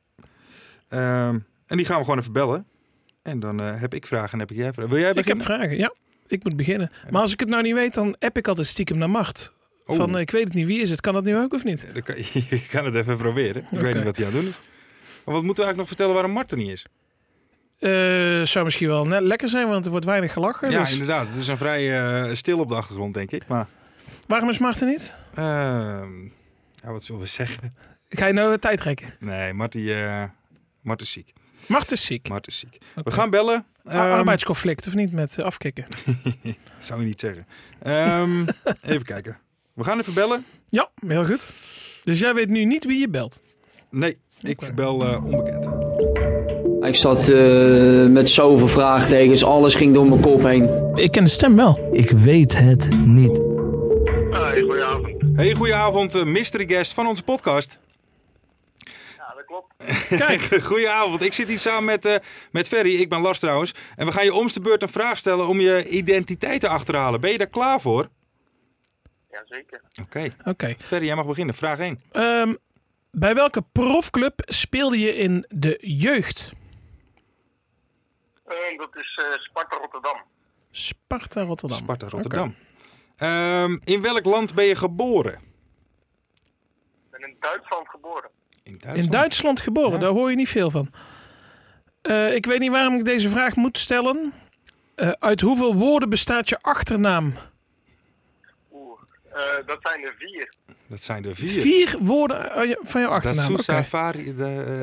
Ehm, en die gaan we gewoon even bellen. En dan eh, heb ik vragen en heb ik jij vragen. Wil jij Ik heb beginnen? vragen, ja. Ik moet beginnen. Maar als ik het nou niet weet, dan app ik altijd stiekem naar macht. Oh. Van, eh, ik weet het niet, wie is het? Kan dat nu ook of niet? Dan kan- Je (laughs) kan het even proberen. Ik Oké. weet niet wat hij aan het doen is. Maar wat moeten we eigenlijk nog vertellen waarom Mart er niet is? Eh, zou misschien wel net lekker zijn, want er wordt weinig gelachen. Ja, dus- inderdaad. Het is een vrij eh, stil op de achtergrond, denk ik. Maar Waarom is Marten niet? ehm, ja, wat zullen we zeggen? Ga je nou eh, tijd rekken? Nee, Mart, die, eh, Mart is ziek. Mart is ziek. Mart is ziek. Oké. We gaan bellen. A- Ehm, arbeidsconflict, of niet? Met eh, afkikken. Zou je niet zeggen. Ehm, even kijken. We gaan even bellen. Ja, heel goed. Dus jij weet nu niet wie je belt. Nee, ik bel eh, onbekend. Ik zat eh, met zoveel vraagtekens, alles ging door mijn kop heen. Ik ken de stem wel. Ik weet het niet. Hey, goedenavond. Hey, goedenavond, eh, mystery guest van onze podcast. (laughs) Ja, dat klopt. goedenavond, ik zit hier samen met, eh, met Ferry, ik ben Lars trouwens. En we gaan je omste beurt een vraag stellen om je identiteit te achterhalen. Ben je daar klaar voor? Oké, Jazeker. Oké. Ferry, jij mag beginnen. Vraag 1. Ehm, bij welke profclub speelde je in de jeugd? Eh, dat is eh, Sparta Rotterdam. Sparta Rotterdam. Sparta, Rotterdam. Ehm, in welk land ben je geboren? Ik ben in Duitsland geboren. In Oké. In Duitsland geboren, daar hoor je niet veel van. Eh, ik weet niet waarom ik deze vraag moet stellen. Eh, uit hoeveel woorden bestaat je achternaam? Oeh. Eh, dat zijn er vier. Dat zijn er vier. Vier, woorden eh, van je Dat is achternaam. Sousa Oké. Fari- de,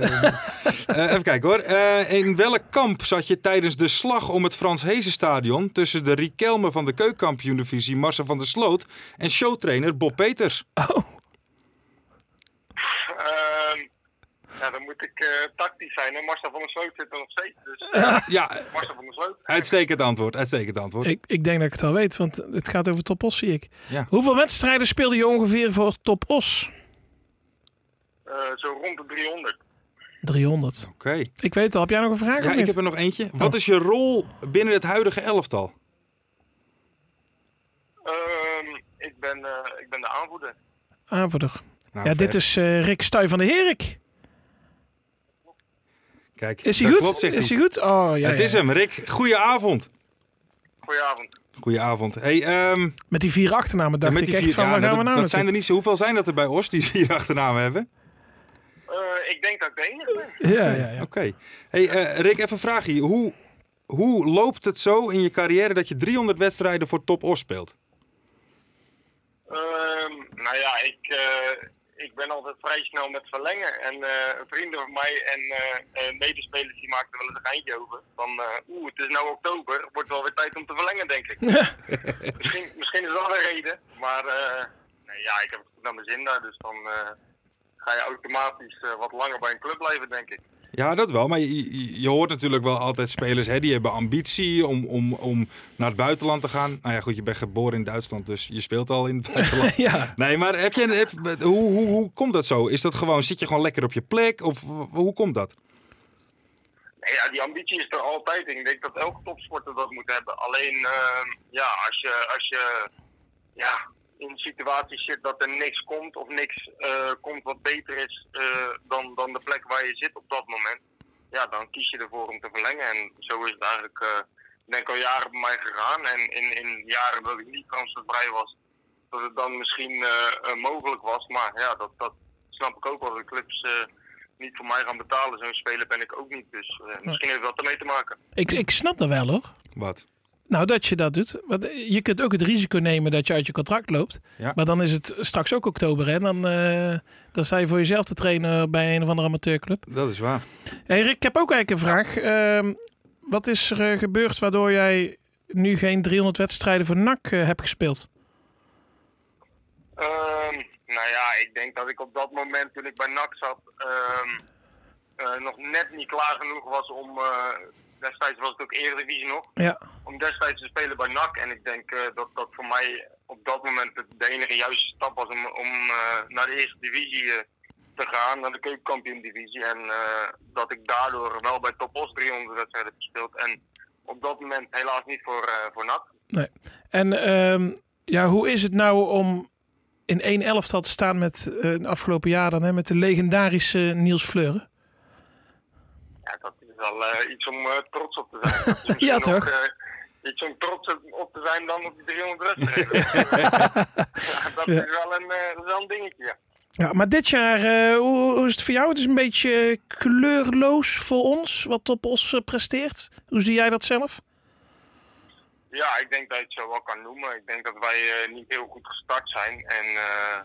eh, (laughs) eh, even kijken hoor. Eh, in welk kamp zat je tijdens de slag om het Frans Hezenstadion... tussen de Riquelme van de keukenkampioen-divisie Marcel van der Sloot... en showtrainer Bob Peters? Ehm, ja, dan moet ik eh, tactisch zijn. En Marcel van der Sloot zit er nog steeds. Dus Ja, Marcel van der Sloot. uitstekend antwoord. Uitstekend antwoord. Ik, ik denk dat ik het al weet, want het gaat over Top Os, zie ik. Ja. Hoeveel wedstrijden speelde je ongeveer voor Top Os? Eh, zo rond de 300. 300. Oké. Ik weet het al. Heb jij nog een vraag of Ja, ik niet? Oh. heb er nog eentje. Wat is je rol binnen het huidige elftal? Ehm, ik, ben, eh, ik ben de aanvoerder. Aanvoerder. Nou, Ja, ver. dit is eh, Rick Stuy van de Herik. Kijk, Is hij dat goed? klopt, zegt is hij. hij goed? Oh, ja, Het ja, is ja. hem, Rick. Goedenavond. Goedenavond. Goedenavond. Hey, ehm, Met die vier achternamen dacht met ik die echt vier, van, ja, waar nou, gaan we dat, nou dat zijn er niet zo. Hoeveel zijn dat er bij ons die vier (laughs) achternamen hebben? Eh, ik denk dat ik de enige ben. naartoe? Ja, ja, ja. Oké. Hey, eh, Rick, even een vraagje. Hoe, hoe loopt het zo in je carrière dat je 300 wedstrijden voor Top Os speelt? Ehm, nou ja, ik, eh, ik ben altijd vrij snel met verlengen. En eh, vrienden van mij en eh, eh, medespelers die maakten wel eens een geintje over. Van, eh, oeh, het is nou oktober. Het wordt wel weer tijd om te verlengen, denk ik. misschien, misschien is dat een reden. Maar eh, nee, ja, ik heb het goed naar mijn zin daar. Dus dan eh, ga je automatisch eh, wat langer bij een club blijven, denk ik. Ja, dat wel. Maar je, je- je hoort natuurlijk wel altijd spelers hè, die hebben ambitie om, om, om naar het buitenland te gaan. Nou ja, goed, je bent geboren in Duitsland, dus je speelt al in het buitenland. Ja. Nee, maar heb je, heb, hoe, hoe, hoe komt dat zo? Is dat gewoon, zit je gewoon lekker op je plek? Of w- hoe komt dat? Nee, Ja, die ambitie is er altijd. Ik denk dat elke topsporter dat moet hebben. Alleen, ehm, ja, als je, als je ja, in situaties zit dat er niks komt of niks eh, komt wat beter is eh, dan, dan de plek waar je zit op dat moment, ja, dan kies je ervoor om te verlengen. En zo is het eigenlijk, eh, ik denk al jaren bij mij gegaan. En in, in jaren dat ik niet kansvrij was, dat het dan misschien eh, eh, mogelijk was. Maar ja, dat, dat snap ik ook wel. De clubs eh, niet voor mij gaan betalen. Zo'n speler ben ik ook niet. Dus eh, misschien heeft dat ermee te maken. Ik, ik snap dat wel, hoor. Wat? Nou, dat je dat doet. Want eh, je kunt ook het risico nemen dat je uit je contract loopt. Ja. Maar dan is het straks ook oktober, hè. Dan, eh, dan sta je voor jezelf te trainen bij een of andere amateurclub. Dat is waar. Hey Rick, ik heb ook eigenlijk een vraag. Ehm, wat is er eh, gebeurd waardoor jij nu geen 300 wedstrijden voor NAC eh, hebt gespeeld? Ehm, nou ja, ik denk dat ik op dat moment toen ik bij NAC zat ehm, eh, nog net niet klaar genoeg was om. eh, destijds was het ook Eredivisie nog. Ja. Om destijds te spelen bij NAC. En ik denk eh, dat dat voor mij op dat moment de- de enige juiste stap was om, om eh, naar de eerste divisie eh, te gaan, naar de keukenkampioen divisie. En eh, dat ik daardoor wel bij Top Os 300 wedstrijden heb gespeeld. En op dat moment helaas niet voor, eh, voor NAC. Nee. En ehm, ja, hoe is het nou om in één elftal te staan met eh, het afgelopen jaar dan, hè, met de legendarische Niels Fleuren? Ja, dat is wel eh, iets om eh, trots op te zijn. Dat is (laughs) misschien Ja, ook, toch? eh, iets om trots op- op te zijn dan op die 300 (laughs) wedstrijden. (laughs) ja, dat is wel een, eh, dat is wel een dingetje, ja. Ja, maar dit jaar, eh, hoe, hoe is het voor jou? Het is een beetje eh, kleurloos voor ons, wat Top Os eh, presteert. Hoe zie jij dat zelf? Ja, ik denk dat je het zo wel kan noemen. Ik denk dat wij eh, niet heel goed gestart zijn. En eh,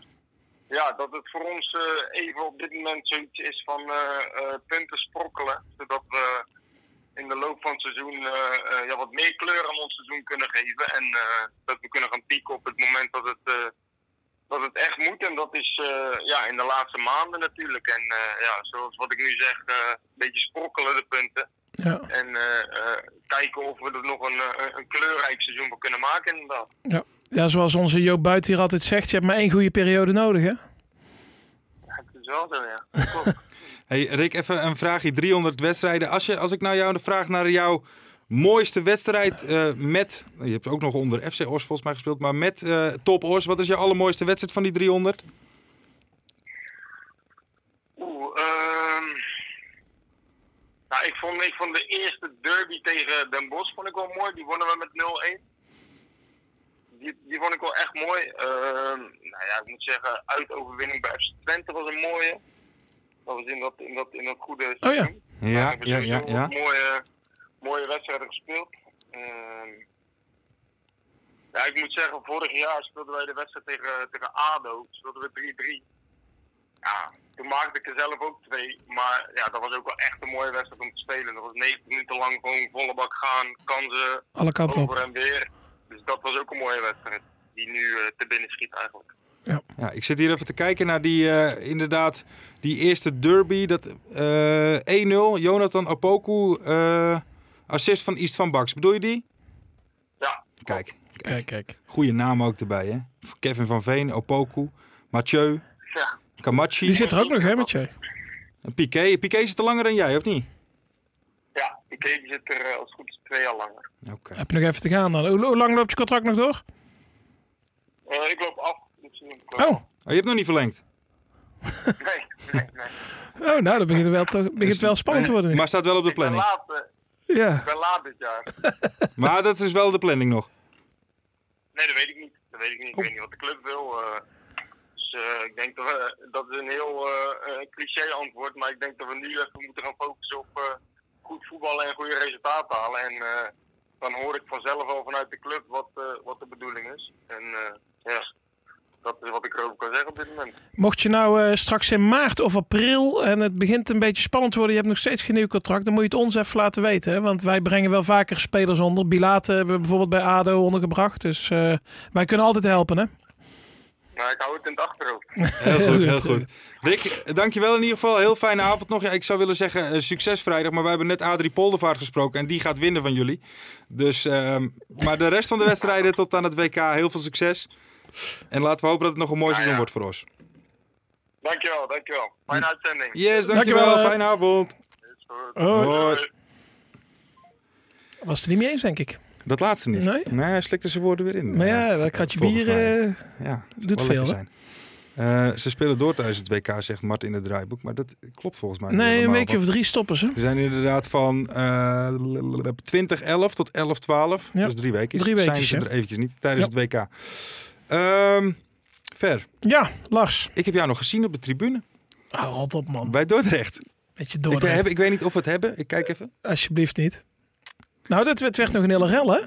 ja, dat het voor ons eh, even op dit moment zoiets is van eh, eh, punten sprokkelen. Zodat we in de loop van het seizoen eh, eh, ja, wat meer kleur aan ons seizoen kunnen geven. En eh, dat we kunnen gaan pieken op het moment dat het, eh, dat het echt moet. En dat is eh, ja, in de laatste maanden natuurlijk. En eh, ja, zoals wat ik nu zeg, eh, een beetje sprokkelen de punten. Ja, En eh, eh, kijken of we er nog een, eh, een kleurrijk seizoen van kunnen maken inderdaad. ja. ja, zoals onze Joop Buiten hier altijd zegt, je hebt maar één goede periode nodig, hè? Het is wel zo, (laughs) ja. Klopt. Hey Rick, even een vraagje. 300 wedstrijden. Als, je, als ik nou jou de vraag naar jouw mooiste wedstrijd eh, met... Je hebt ook nog onder FC Os volgens mij gespeeld. Maar met eh, Top Os. Wat is je allermooiste wedstrijd van die 300? Oeh, ehm nou, ik, vond, ik vond de eerste derby tegen Den Bosch vond ik wel mooi. Die wonnen we met 0-1. Die, die vond ik wel echt mooi. Ehm, nou ja, ik moet zeggen, uitoverwinning bij FC Twente was een mooie. Dat was in dat, in dat, in dat goede Oh ja. seizoen. Ja, We hebben sowieso wat Mooie, mooie wedstrijden gespeeld. Ehm, ja, ik moet zeggen, vorig jaar speelden wij de wedstrijd tegen, tegen ADO. Speelden we 3-3. Ja, toen maakte ik er zelf ook twee. Maar ja, dat was ook wel echt een mooie wedstrijd om te spelen. Dat was 90 minuten lang gewoon volle bak gaan. Kansen Alle kanten over op. en weer. Dus dat was ook een mooie wedstrijd. Die nu eh, te binnen schiet eigenlijk. Ja, ik zit hier even te kijken naar die, eh, inderdaad, die eerste derby. Dat, eh, 1-0, Jonathan Apoku, eh, assist van East van Baks. Bedoel je die? Ja, Kijk, Kijk, kijk. goede naam ook erbij, hè? Kevin van Veen, Opoku, Mathieu, ja. Die Kamachi, zit er ook nog, hè, met jij? en Piqué. Piqué zit er langer dan jij, of niet? ja die keeper zit er eh, als het goed is twee jaar langer. Oké. Heb je nog even te gaan dan. Hoe, hoe lang loopt je contract nog door? Eh, ik loop af. dit seizoen. Oh, Oh, je hebt nog niet verlengd. Nee, nee, nee. oh nou, dan begint het wel, te- begint het wel spannend te worden. nu. Maar staat wel op de Ik ben planning. laat, eh, ik Ja, ben laat dit jaar. Maar dat is wel de planning nog. Nee, dat weet ik niet. Dat weet ik niet. Ik weet niet wat de club wil. eh. dus eh, ik denk dat we, dat is een heel eh, eh, cliché antwoord, maar ik denk dat we nu even moeten gaan focussen op eh, goed voetballen en goede resultaten halen. En eh, dan hoor ik vanzelf al vanuit de club wat, eh, wat de bedoeling is. En eh, ja, dat is wat ik erover kan zeggen op dit moment. mocht je nou eh, straks in maart of april en het begint een beetje spannend te worden, je hebt nog steeds geen nieuw contract, dan moet je het ons even laten weten. Hè? Want wij brengen wel vaker spelers onder. Bilate hebben we bijvoorbeeld bij ADO ondergebracht, dus eh, wij kunnen altijd helpen, hè? Maar ik hou het in het achterhoofd. Heel goed, heel goed. Rick, dankjewel in ieder geval. Heel fijne avond nog. Ja, ik zou willen zeggen eh, succes vrijdag, maar wij hebben net Adrie Poldervaart gesproken en die gaat winnen van jullie. Dus, ehm, maar de rest van de wedstrijden tot aan het WK, heel veel succes. En laten we hopen dat het nog een mooi seizoen wordt voor ons. Dankjewel, dankjewel. Fijne uitzending. Yes, dankjewel. Dankjewel. eh. Fijne avond. Is goed. Hoi. Was het er niet mee eens, denk ik. Dat laatste niet. Nee? hij slikte zijn woorden weer in. Maar ja, dat kratje Volgens bier mij. eh, Ja, doet wel veel, lekker hè? zijn. Eh, ze spelen door tijdens het WK, zegt Mart in het draaiboek. Maar dat klopt volgens mij niet Nee, een helemaal, weekje want of drie stoppen ze. We zijn inderdaad van eh 2011 tot 1112. Ja, Dus drie weken. drie Zijn weekjes, ze hè? er eventjes niet tijdens het WK. Ehm, Ver, Ja, Lars. ik heb jou nog gezien op de tribune Ah, rot op, man. bij Dordrecht. Beetje Ik, eh, door. heb, ik weet niet of we het hebben. Ik kijk even. Alsjeblieft niet. Nou, dat werd, werd nog een hele rel, hè?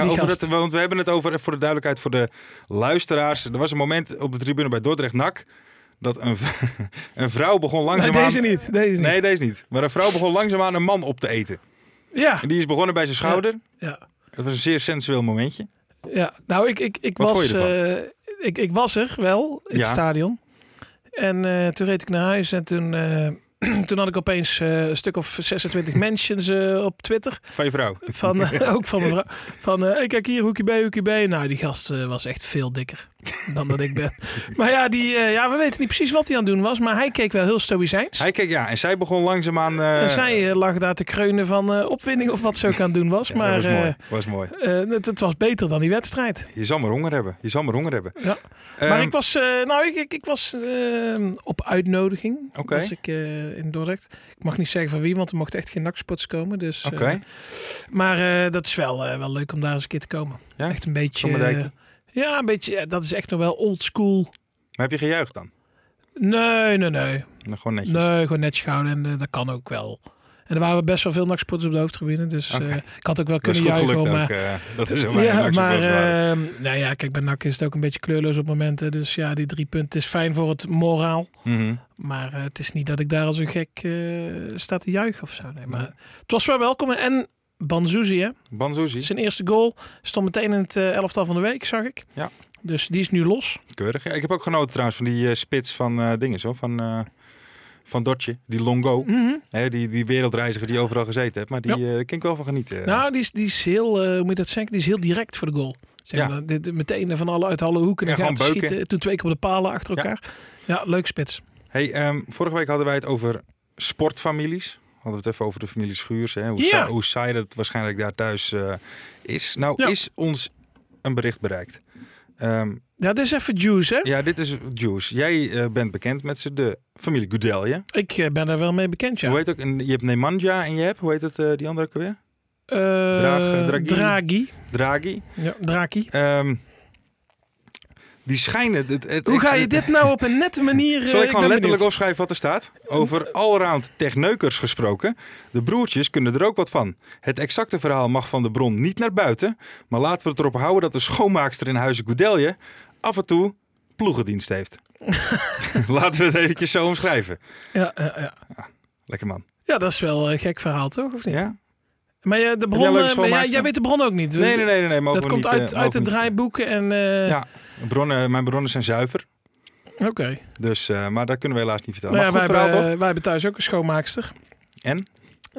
Die over gast. dat, want we hebben het over, voor de duidelijkheid voor de luisteraars. Er was een moment op de tribune bij Dordrecht-Nak dat een, v- (laughs) een vrouw begon Nee, langzaamaan... deze niet. Deze niet. Nee, deze niet. Maar een vrouw begon langzaamaan een man op te eten. Ja. En die is begonnen bij zijn schouder. ja. Dat was een zeer sensueel momentje. Ja. Nou, ik, ik, ik, Wat vond was, je eh, ik, ik was er wel in Ja. het stadion. En eh, toen reed ik naar huis en toen, eh, (clears throat) toen had ik opeens eh, een stuk of (laughs) 26 mentions eh, op Twitter. Van je vrouw. Van, (laughs) eh, ook van mevrouw. Van, eh, hey, kijk hier, hoekje B, hoekje B. Nou, die gast eh, was echt veel dikker dan dat ik (laughs) ben. Maar ja, die, eh, ja, we weten niet precies wat hij aan het doen was. Maar hij keek wel heel stoïcijns. Hij keek, ja, en zij begon langzaamaan... eh en zij eh, lag daar te kreunen van eh, opwinding of wat ze ook aan het doen was. (laughs) ja, maar dat was mooi. eh, was mooi. eh, het, het was beter dan die wedstrijd. Je zal maar honger hebben. Je zal maar honger hebben. Ja. Ehm, maar ik was, eh, nou, ik, ik, ik was eh, op uitnodiging. Oké. Was ik eh, in Dordrecht. Ik mag niet zeggen van wie, want er mochten echt geen nachtsports komen. Dus, eh, Oké. Maar eh, dat is wel, eh, wel leuk om daar eens een keer te komen. Ja? Echt een beetje. Sommerdijkje? eh, ja, een beetje. eh, dat is echt nog wel old school. Maar heb je gejuicht dan? Nee, nee, nee. Nou, gewoon netjes. Nee, gewoon netjes gehouden. En eh, dat kan ook wel. En er waren best wel veel nachtsporters op de hoofdgebieden. Dus Oké. eh, ik had ook wel Dat is kunnen goed juichen. gelukt hoor, ook. Maar, eh, dat is een ja, weinig maar succes waren. eh, nou ja, kijk, bij NAC is het ook een beetje kleurloos op momenten. Dus ja, die drie punten is fijn voor het moraal. Mhm. Maar eh, het is niet dat ik daar als een gek eh, sta te juichen of zo. Nee, maar het was wel welkom. En Banzuzi, hè? Banzuzi, Zijn eerste goal stond meteen in het eh, elftal van de week, zag ik. Ja. Dus die is nu los. keurig. Ja, ik heb ook genoten trouwens van die eh, spits van eh dingen zo, van, eh van Dotje, die Longo. Mm. Mhm. Hè, die, die wereldreiziger die overal gezeten heeft. Maar die eh, daar kan ik wel van genieten. Nou, die is, die is heel, eh, hoe moet je dat zeggen? Die is heel direct voor de goal. Zeg Ja. maar, dit- dit- meteen van alle, uit alle hoeken Ja, en gaten gewoon beuken. schieten. Toen twee keer op de palen achter Ja. elkaar. Ja, leuk spits. Hey, ehm, vorige week hadden wij het over sportfamilies. Hadden we het even over de familie Schuurs. Hè? Hoe, Ja. saai, hoe saai dat waarschijnlijk daar thuis eh, is. Nou, Ja. is ons een bericht bereikt. Ehm, Ja, dit is even juice, hè? ja, dit is Juice. Jij eh, bent bekend met ze, de familie Goudelje. Ik eh, ben daar wel mee bekend, ja. Hoe heet ook? En je hebt Nemanja en je hebt, hoe heet het, eh, die andere ook weer? Eh, Draag- Draghi. Draghi. Draghi. Draghi. Ja, Draghi. Ehm, die schijnen... Het, het- Hoe ik- ga je dit nou op een nette manier... eh, Zal ik gewoon ben letterlijk benieuwd. opschrijven wat er staat? Over allround techneukers gesproken. De broertjes kunnen er ook wat van. Het exacte verhaal mag van de bron niet naar buiten. Maar laten we het erop houden dat de schoonmaakster in huizen Goudelje af en toe ploegendienst heeft. (laughs) laten we het eventjes zo omschrijven. Ja, ja, ja. Lekker man. ja, dat is wel een gek verhaal, toch? Of niet? Ja? Maar eh, de jij bron, eh, leuke maar jij, schoonmaakster? jij weet de bron ook niet. Nee, nee, nee. nee, nee mogen Dat we komt niet, uit, eh, uit de mogen we niet. draaiboeken en... eh, Ja, bronnen, mijn bronnen zijn zuiver. Oké. Dus, eh, maar dat kunnen we helaas niet vertellen. Nou ja, wij, maar goed verhaal hebben, toch? eh, wij hebben thuis ook een schoonmaakster. En?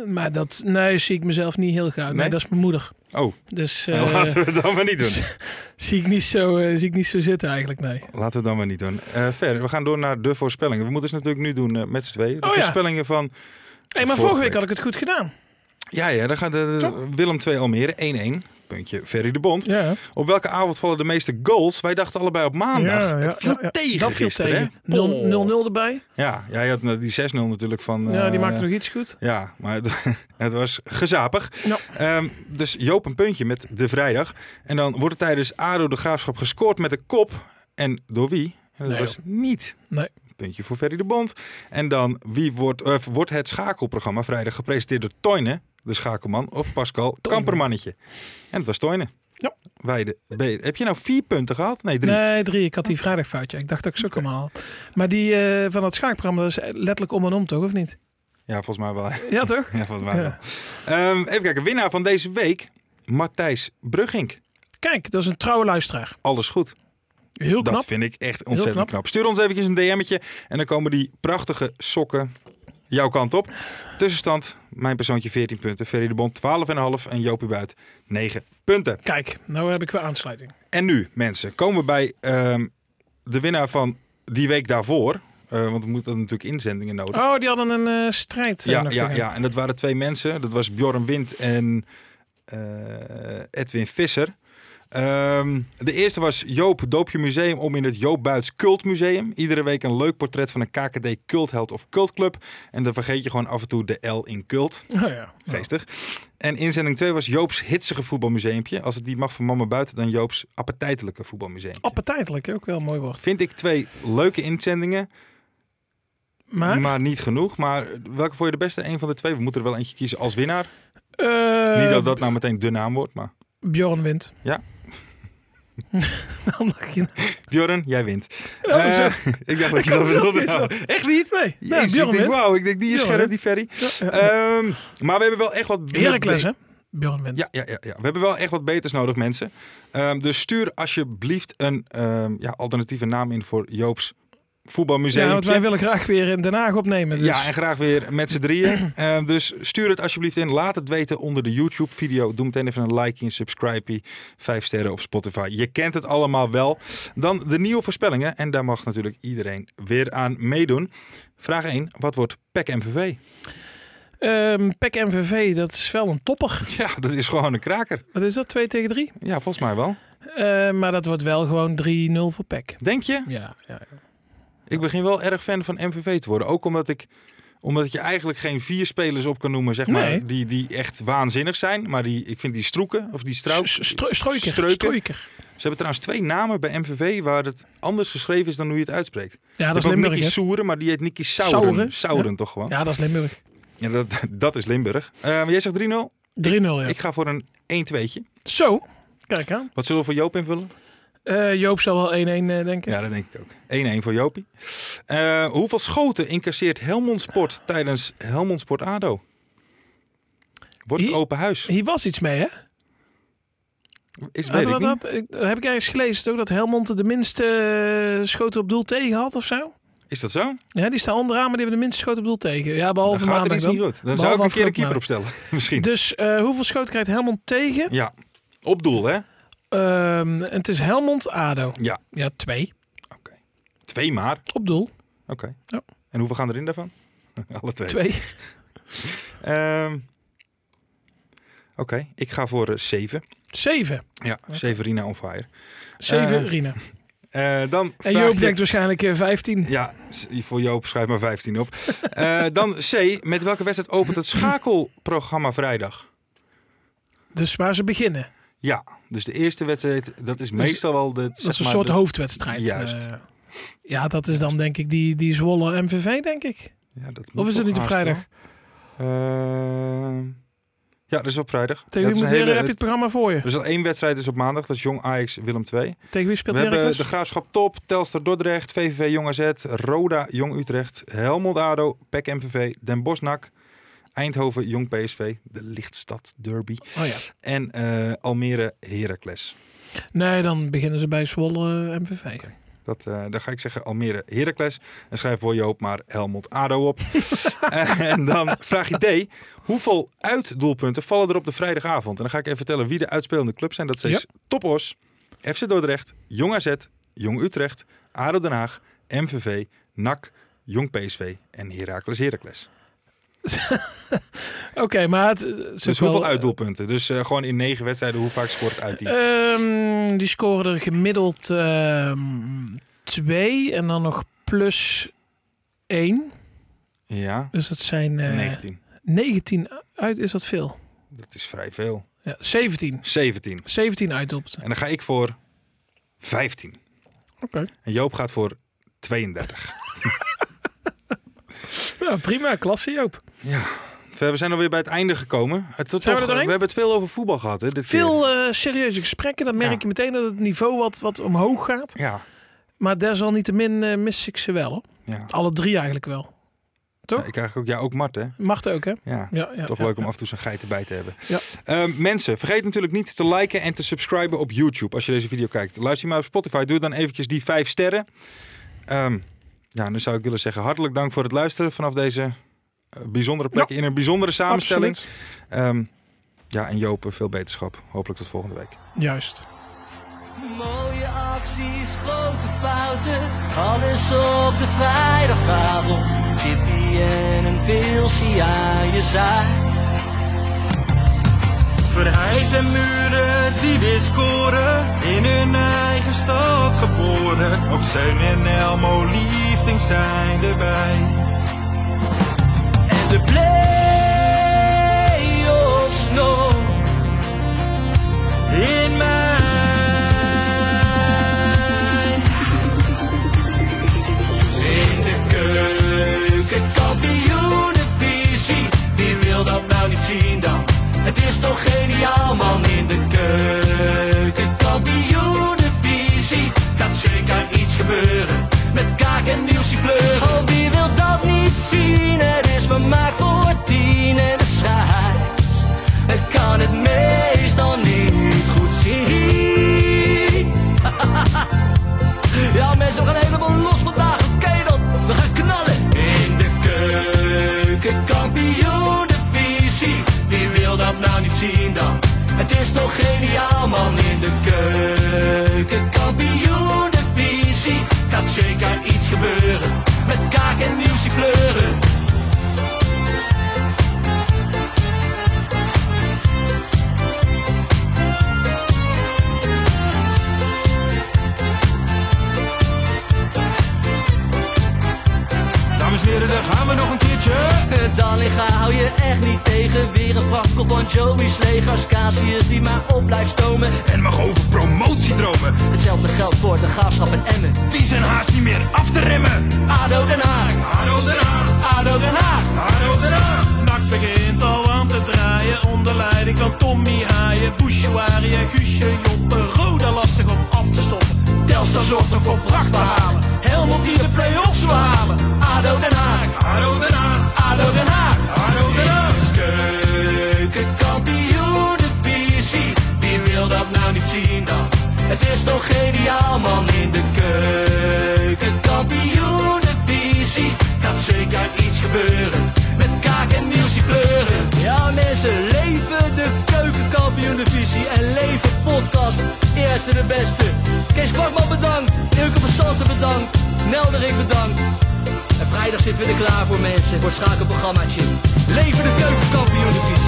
Maar dat nee, zie ik mezelf niet heel gauw. Nee, Nee? dat is mijn moeder. Oh, (laughs) Dus eh, nou, laten we het dan maar niet doen. (laughs) zie, ik niet zo, eh, zie ik niet zo zitten eigenlijk, nee. Laten we het dan maar niet doen. Eh, verder, we gaan door naar de voorspellingen. We moeten ze natuurlijk nu doen eh, met z'n tweeën. De Oh ja. voorspellingen van... Hey, maar Vorige vorige week week. had ik het goed gedaan. Ja, ja, dan gaat de, Toch? Willem 2 Almere 1-1. Puntje, Ferry de Bond. Ja, Op welke avond vallen de meeste goals? Wij dachten allebei op maandag. Ja, ja, het viel ja, ja. tegen dat nou, viel gisteren, tegen. hè? Oh. Poh. 0-0 erbij. Ja, ja, je had nou die 6-0 natuurlijk van... ja, die eh, maakte nog iets goed. Ja, maar het, (laughs) het was gezapig. Ja. Ehm, dus Joop een puntje met de vrijdag. En dan wordt er tijdens ADO de Graafschap gescoord met de kop. En door wie? En dat Nee, was niet. Nee. Puntje voor Ferry de Bond. En dan, wie wordt, eh, wordt het schakelprogramma vrijdag gepresenteerd door Toyne, de schakelman, of Pascal Kampermannetje? En het was Toyne. Ja. Wij de, B- heb je nou vier punten gehad? Nee, drie. Nee, drie. Ik had die vrijdag foutje. Ik dacht dat ik ze ook allemaal had. Maar die eh, van dat schaakprogramma, dat is letterlijk om en om, toch? Of niet? Ja, volgens mij wel. (laughs) Ja, toch? Ja, volgens mij Ja. wel. Ehm, even kijken, winnaar van deze week, Matthijs Bruggink. Kijk, dat is een trouwe luisteraar. Alles goed. Heel knap. Dat vind ik echt ontzettend knap. knap. Stuur ons eventjes een DM'tje en dan komen die prachtige sokken jouw kant op. Tussenstand, mijn persoontje 14 punten, Ferry de Bond 12,5 en Jopie Buit 9 punten. Kijk, nou heb ik weer aansluiting. En nu mensen, komen we bij ehm, de winnaar van die week daarvoor. Eh, want we moeten natuurlijk inzendingen nodig. Oh, die hadden een eh, strijd. eh, ja, nog te ja, gaan. ja, en dat waren twee mensen. Dat was Bjorn Wind en eh, Edwin Visser. Ehm, de eerste was Joop Doopje Museum om in het Joop Buits Cultmuseum. Iedere week een leuk portret van een KKD cultheld of cultclub. En dan vergeet je gewoon af en toe de L in (laughs) cult. Oh, ja. Geestig. En inzending 2 was Joops hitsige voetbalmuseumpje. Als het die mag van mama buiten, dan Joops appetijtelijke voetbalmuseum. Appetijtelijk, hè, ook wel een mooi woord. Vind ik twee leuke inzendingen, Maar, maar? niet genoeg. Maar welke vond je de beste? Een van de twee. We moeten er wel eentje kiezen als winnaar. eh, Niet dat dat nou meteen de naam wordt, maar... Bjorn wint. Ja. (laughs) Dan mag je... Bjorn, jij wint. Oh, zo. Eh, (laughs) ik dacht (laughs) dat je kan dat het zelf wilde niet nou. zo. (laughs) Echt niet? Nee, Jezus, ja, Bjorn ik denk, wint. wauw, ik denk, die is Bjorn scherp, die wint. Ferry. Ehm, maar we hebben wel echt wat... Heracles, hè? Bjorn wint. Eh, Ja, ja, ja, ja, we hebben wel echt wat beters nodig, mensen. Ehm, dus stuur alsjeblieft een ehm, ja, alternatieve naam in voor Joop's voetbalmuseum. Ja, want wij willen graag weer in Den Haag opnemen. Dus. Ja, en graag weer met z'n drieën. Eh, dus stuur het alsjeblieft in. Laat het weten onder de YouTube-video. Doe meteen even een like en subscribe. Vijf sterren op Spotify. Je kent het allemaal wel. Dan de nieuwe voorspellingen. En daar mag natuurlijk iedereen weer aan meedoen. Vraag 1. Wat wordt E PEC MVV? Ehm, PEC MVV, dat is wel een topper. Ja, dat is gewoon een kraker. Wat is dat? 2 tegen 3? Ja, volgens mij wel. maar dat wordt wel gewoon 3-0 voor E PEC. Denk je? Ja, ja. Ik begin wel erg fan van MVV te worden. Ook omdat ik omdat je eigenlijk geen vier spelers op kan noemen, zeg maar, Nee. die, die echt waanzinnig zijn. Maar die, ik vind die stroeken, of die Stru struik, streuker. Streuker. Streuker. Ze hebben trouwens twee namen bij MVV waar het anders geschreven is dan hoe je het uitspreekt. Ja, dat Dat is is ook Limburg, Nicky hè? Soeren, maar die heet Nicky Sauren. Sauren? Sauren toch gewoon? Ja, dat is Limburg. Ja, dat, dat is Limburg. Eh, maar jij zegt 3-0. 3-0, ja. Ik ga voor een 1-2'tje. Zo, kijk aan. Wat zullen we voor Joop invullen? Eh, Joop zal wel 1-1 eh, denken. Ja, dat denk ik ook. 1-1 voor Jopie. Eh, hoeveel schoten incasseert Helmond Sport tijdens Helmond Sport ADO? Wordt het Hier- open huis? Hier was iets mee, hè? Is, Had- weet ik had- niet. had- ik- heb ik ergens gelezen ook dat Helmond de minste eh, schoten op doel tegen had of zo? is dat zo? Ja, die staan onderaan, maar die hebben de minste schoten op doel tegen. Ja, Dan behalve gaat er maandag iets niet goed. Dan zou ik Behalve een keer een afgelopen keeper maandag. opstellen. (laughs) Misschien. Dus eh, hoeveel schoten krijgt Helmond tegen? Ja. Op doel, hè? Ehm, en het is Helmond-Ado. Ja. Ja, twee. Twee maar. Op doel. Oké. Ja. En hoeveel gaan erin daarvan? (laughs) Alle twee. Twee. (laughs) Ehm, Oké, ik ga voor eh, zeven. Zeven. Ja, Severina on fire. Zeven, Eh, Rina. Eh, dan En vraag Joop je- denkt waarschijnlijk eh, 15. Ja, s- voor Joop schrijf maar (laughs) 15 op. Eh, dan C. Met welke wedstrijd opent het schakelprogramma vrijdag? Dus waar ze beginnen. Ja, dus de eerste wedstrijd, dat is meestal wel de. Dus Dat is een soort hoofdwedstrijd. Juist. eh. ja, dat is dan denk ik die, die Zwolle MVV, denk ik. Of is het niet op vrijdag? Ehm, ja, dat is op vrijdag. Ja, Tegen wie dat is moet een hele- Heren heb je het programma voor je? Er is al één wedstrijd dus op maandag, dat is Jong Ajax Willem 2. Tegen wie We speelt hebben Heracles? de Graafschap Top, Telstar Dordrecht, VVV Jong AZ, Roda Jong Utrecht, Helmond ADO, E PEC MVV, Den Bosch NAC, Eindhoven Jong PSV, de Lichtstad Derby. Oh ja. En eh, Almere Heracles. Nee, dan beginnen ze bij Zwolle eh, MVV. Dat, eh dan ga ik zeggen Almere Heracles. En schrijf voor Joop maar Helmond (laughs) Ado op. en dan vraag je D. Hoeveel uitdoelpunten vallen er op de vrijdagavond? En dan ga ik even vertellen wie de uitspelende clubs zijn. Dat zijn Topos, FC Dordrecht, Jong AZ, Jong Utrecht, ADO Den Haag, MVV, NAC, Jong PSV en Heracles Heracles. Oké, maar het, het is Dus ook hoeveel wel- Eh, uitdoelpunten? Dus eh, gewoon in negen wedstrijden hoe vaak scoort het uitteam? Ehm, die scoren er gemiddeld ehm, twee en dan nog plus één. ja, Dus dat zijn eh 19. 19 uit. Is dat veel? Dat is vrij veel. Ja, 17. 17. 17 uitdoelpunten. En dan ga ik voor 15. Oké. En Joop gaat voor 32. Ja, prima. Klasse, Joop. We zijn alweer bij het einde gekomen. Het, tot Zijn we er doorheen? hebben het veel over voetbal gehad. Hè, dit Veel eh, serieuze gesprekken. Dan merk Ja. je meteen dat het niveau wat, wat omhoog gaat. keer. Ja. Maar desalniettemin eh mis ik ze wel. hoor. ja. Alle drie eigenlijk wel. Ja, ik krijg ook, ja, ook Mart, hè? Mag ook, hè? Ja. Ja, ja, Toch ja, leuk om ja. af en toe zo'n geit erbij te hebben. Ja. Ehm, mensen, vergeet natuurlijk niet te liken en te subscriben op YouTube als je deze video kijkt. Luister je maar op Spotify, doe dan eventjes die vijf sterren. Ehm, ja, en dan zou ik willen zeggen hartelijk dank voor het luisteren vanaf deze eh, bijzondere plek in een bijzondere samenstelling. Absoluut. Ehm, ja, en Joop, eh, veel beterschap. Hopelijk tot volgende week. Juist. Mooie acties, grote fouten, alles op de vrijdagavond. Chippy en een pilsie aan je zaai. Verheid en muren die weer scoren, in hun eigen stad geboren. Ook Zijn en Elmo liefding zijn erbij. En de play-offs nog in mij. In de keuken, kampioenenvisie. Wie wil dat nou niet zien dan? Het is toch geniaal man in de keuken, kampioenenvisie. Gaat zeker iets gebeuren met kaak en nieuwsie fleuren. Oh, wie wil dat niet zien? Het is vermaakt voor tien en de scheids. Het kan het meestal niet goed zien. Ja, mensen, we gaan helemaal los vandaag. Oké dan, we gaan knallen. In de keuken, kampioen de visie. Wie wil dat nou niet zien dan? Het is toch geniaal, man. In de keuken, kampioen de visie. Gaat zeker iets gebeuren. Met kaak en nieuwsie kleuren. Dames en heren, daar gaan we nog een keertje. Eh, Dallinga hou je echt niet tegen. Weer een prachtkel van Joey's legers. Casius die maar op blijft stomen. En mag over promotiedromen, Hetzelfde geldt voor de gaafschap en Emmen. die zijn haast niet meer af te remmen. ADO Den Haag, Ado Den Haag, ADO Den Haag. Ado Den Haag, van Tommy Haaien, Bouchoirie en Guusje Joppen. Roda lastig om af te stoppen. Telstar zorgt nog voor pracht te halen. Helmond die de play-offs wil halen. ADO Den Haag. ADO Den Haag. ADO Den Haag. ADO Den Haag. Keukenkampioenenvisie. Wie wil dat nou niet zien dan? Het is toch geniaal man in de keukenkampioenenvisie. Gaat zeker iets gebeuren. Met kaak en nieuwsie kleuren. Ja mensen, leven de keukenkampioenenvisie. En leven podcast. Eerste de beste. Kees Kwakman bedankt. Ilke van Santen bedankt. Nelderik bedankt. En vrijdag zitten we er klaar voor mensen, voor het schakelprogrammaatje. Leven de keukenkampioen divisie.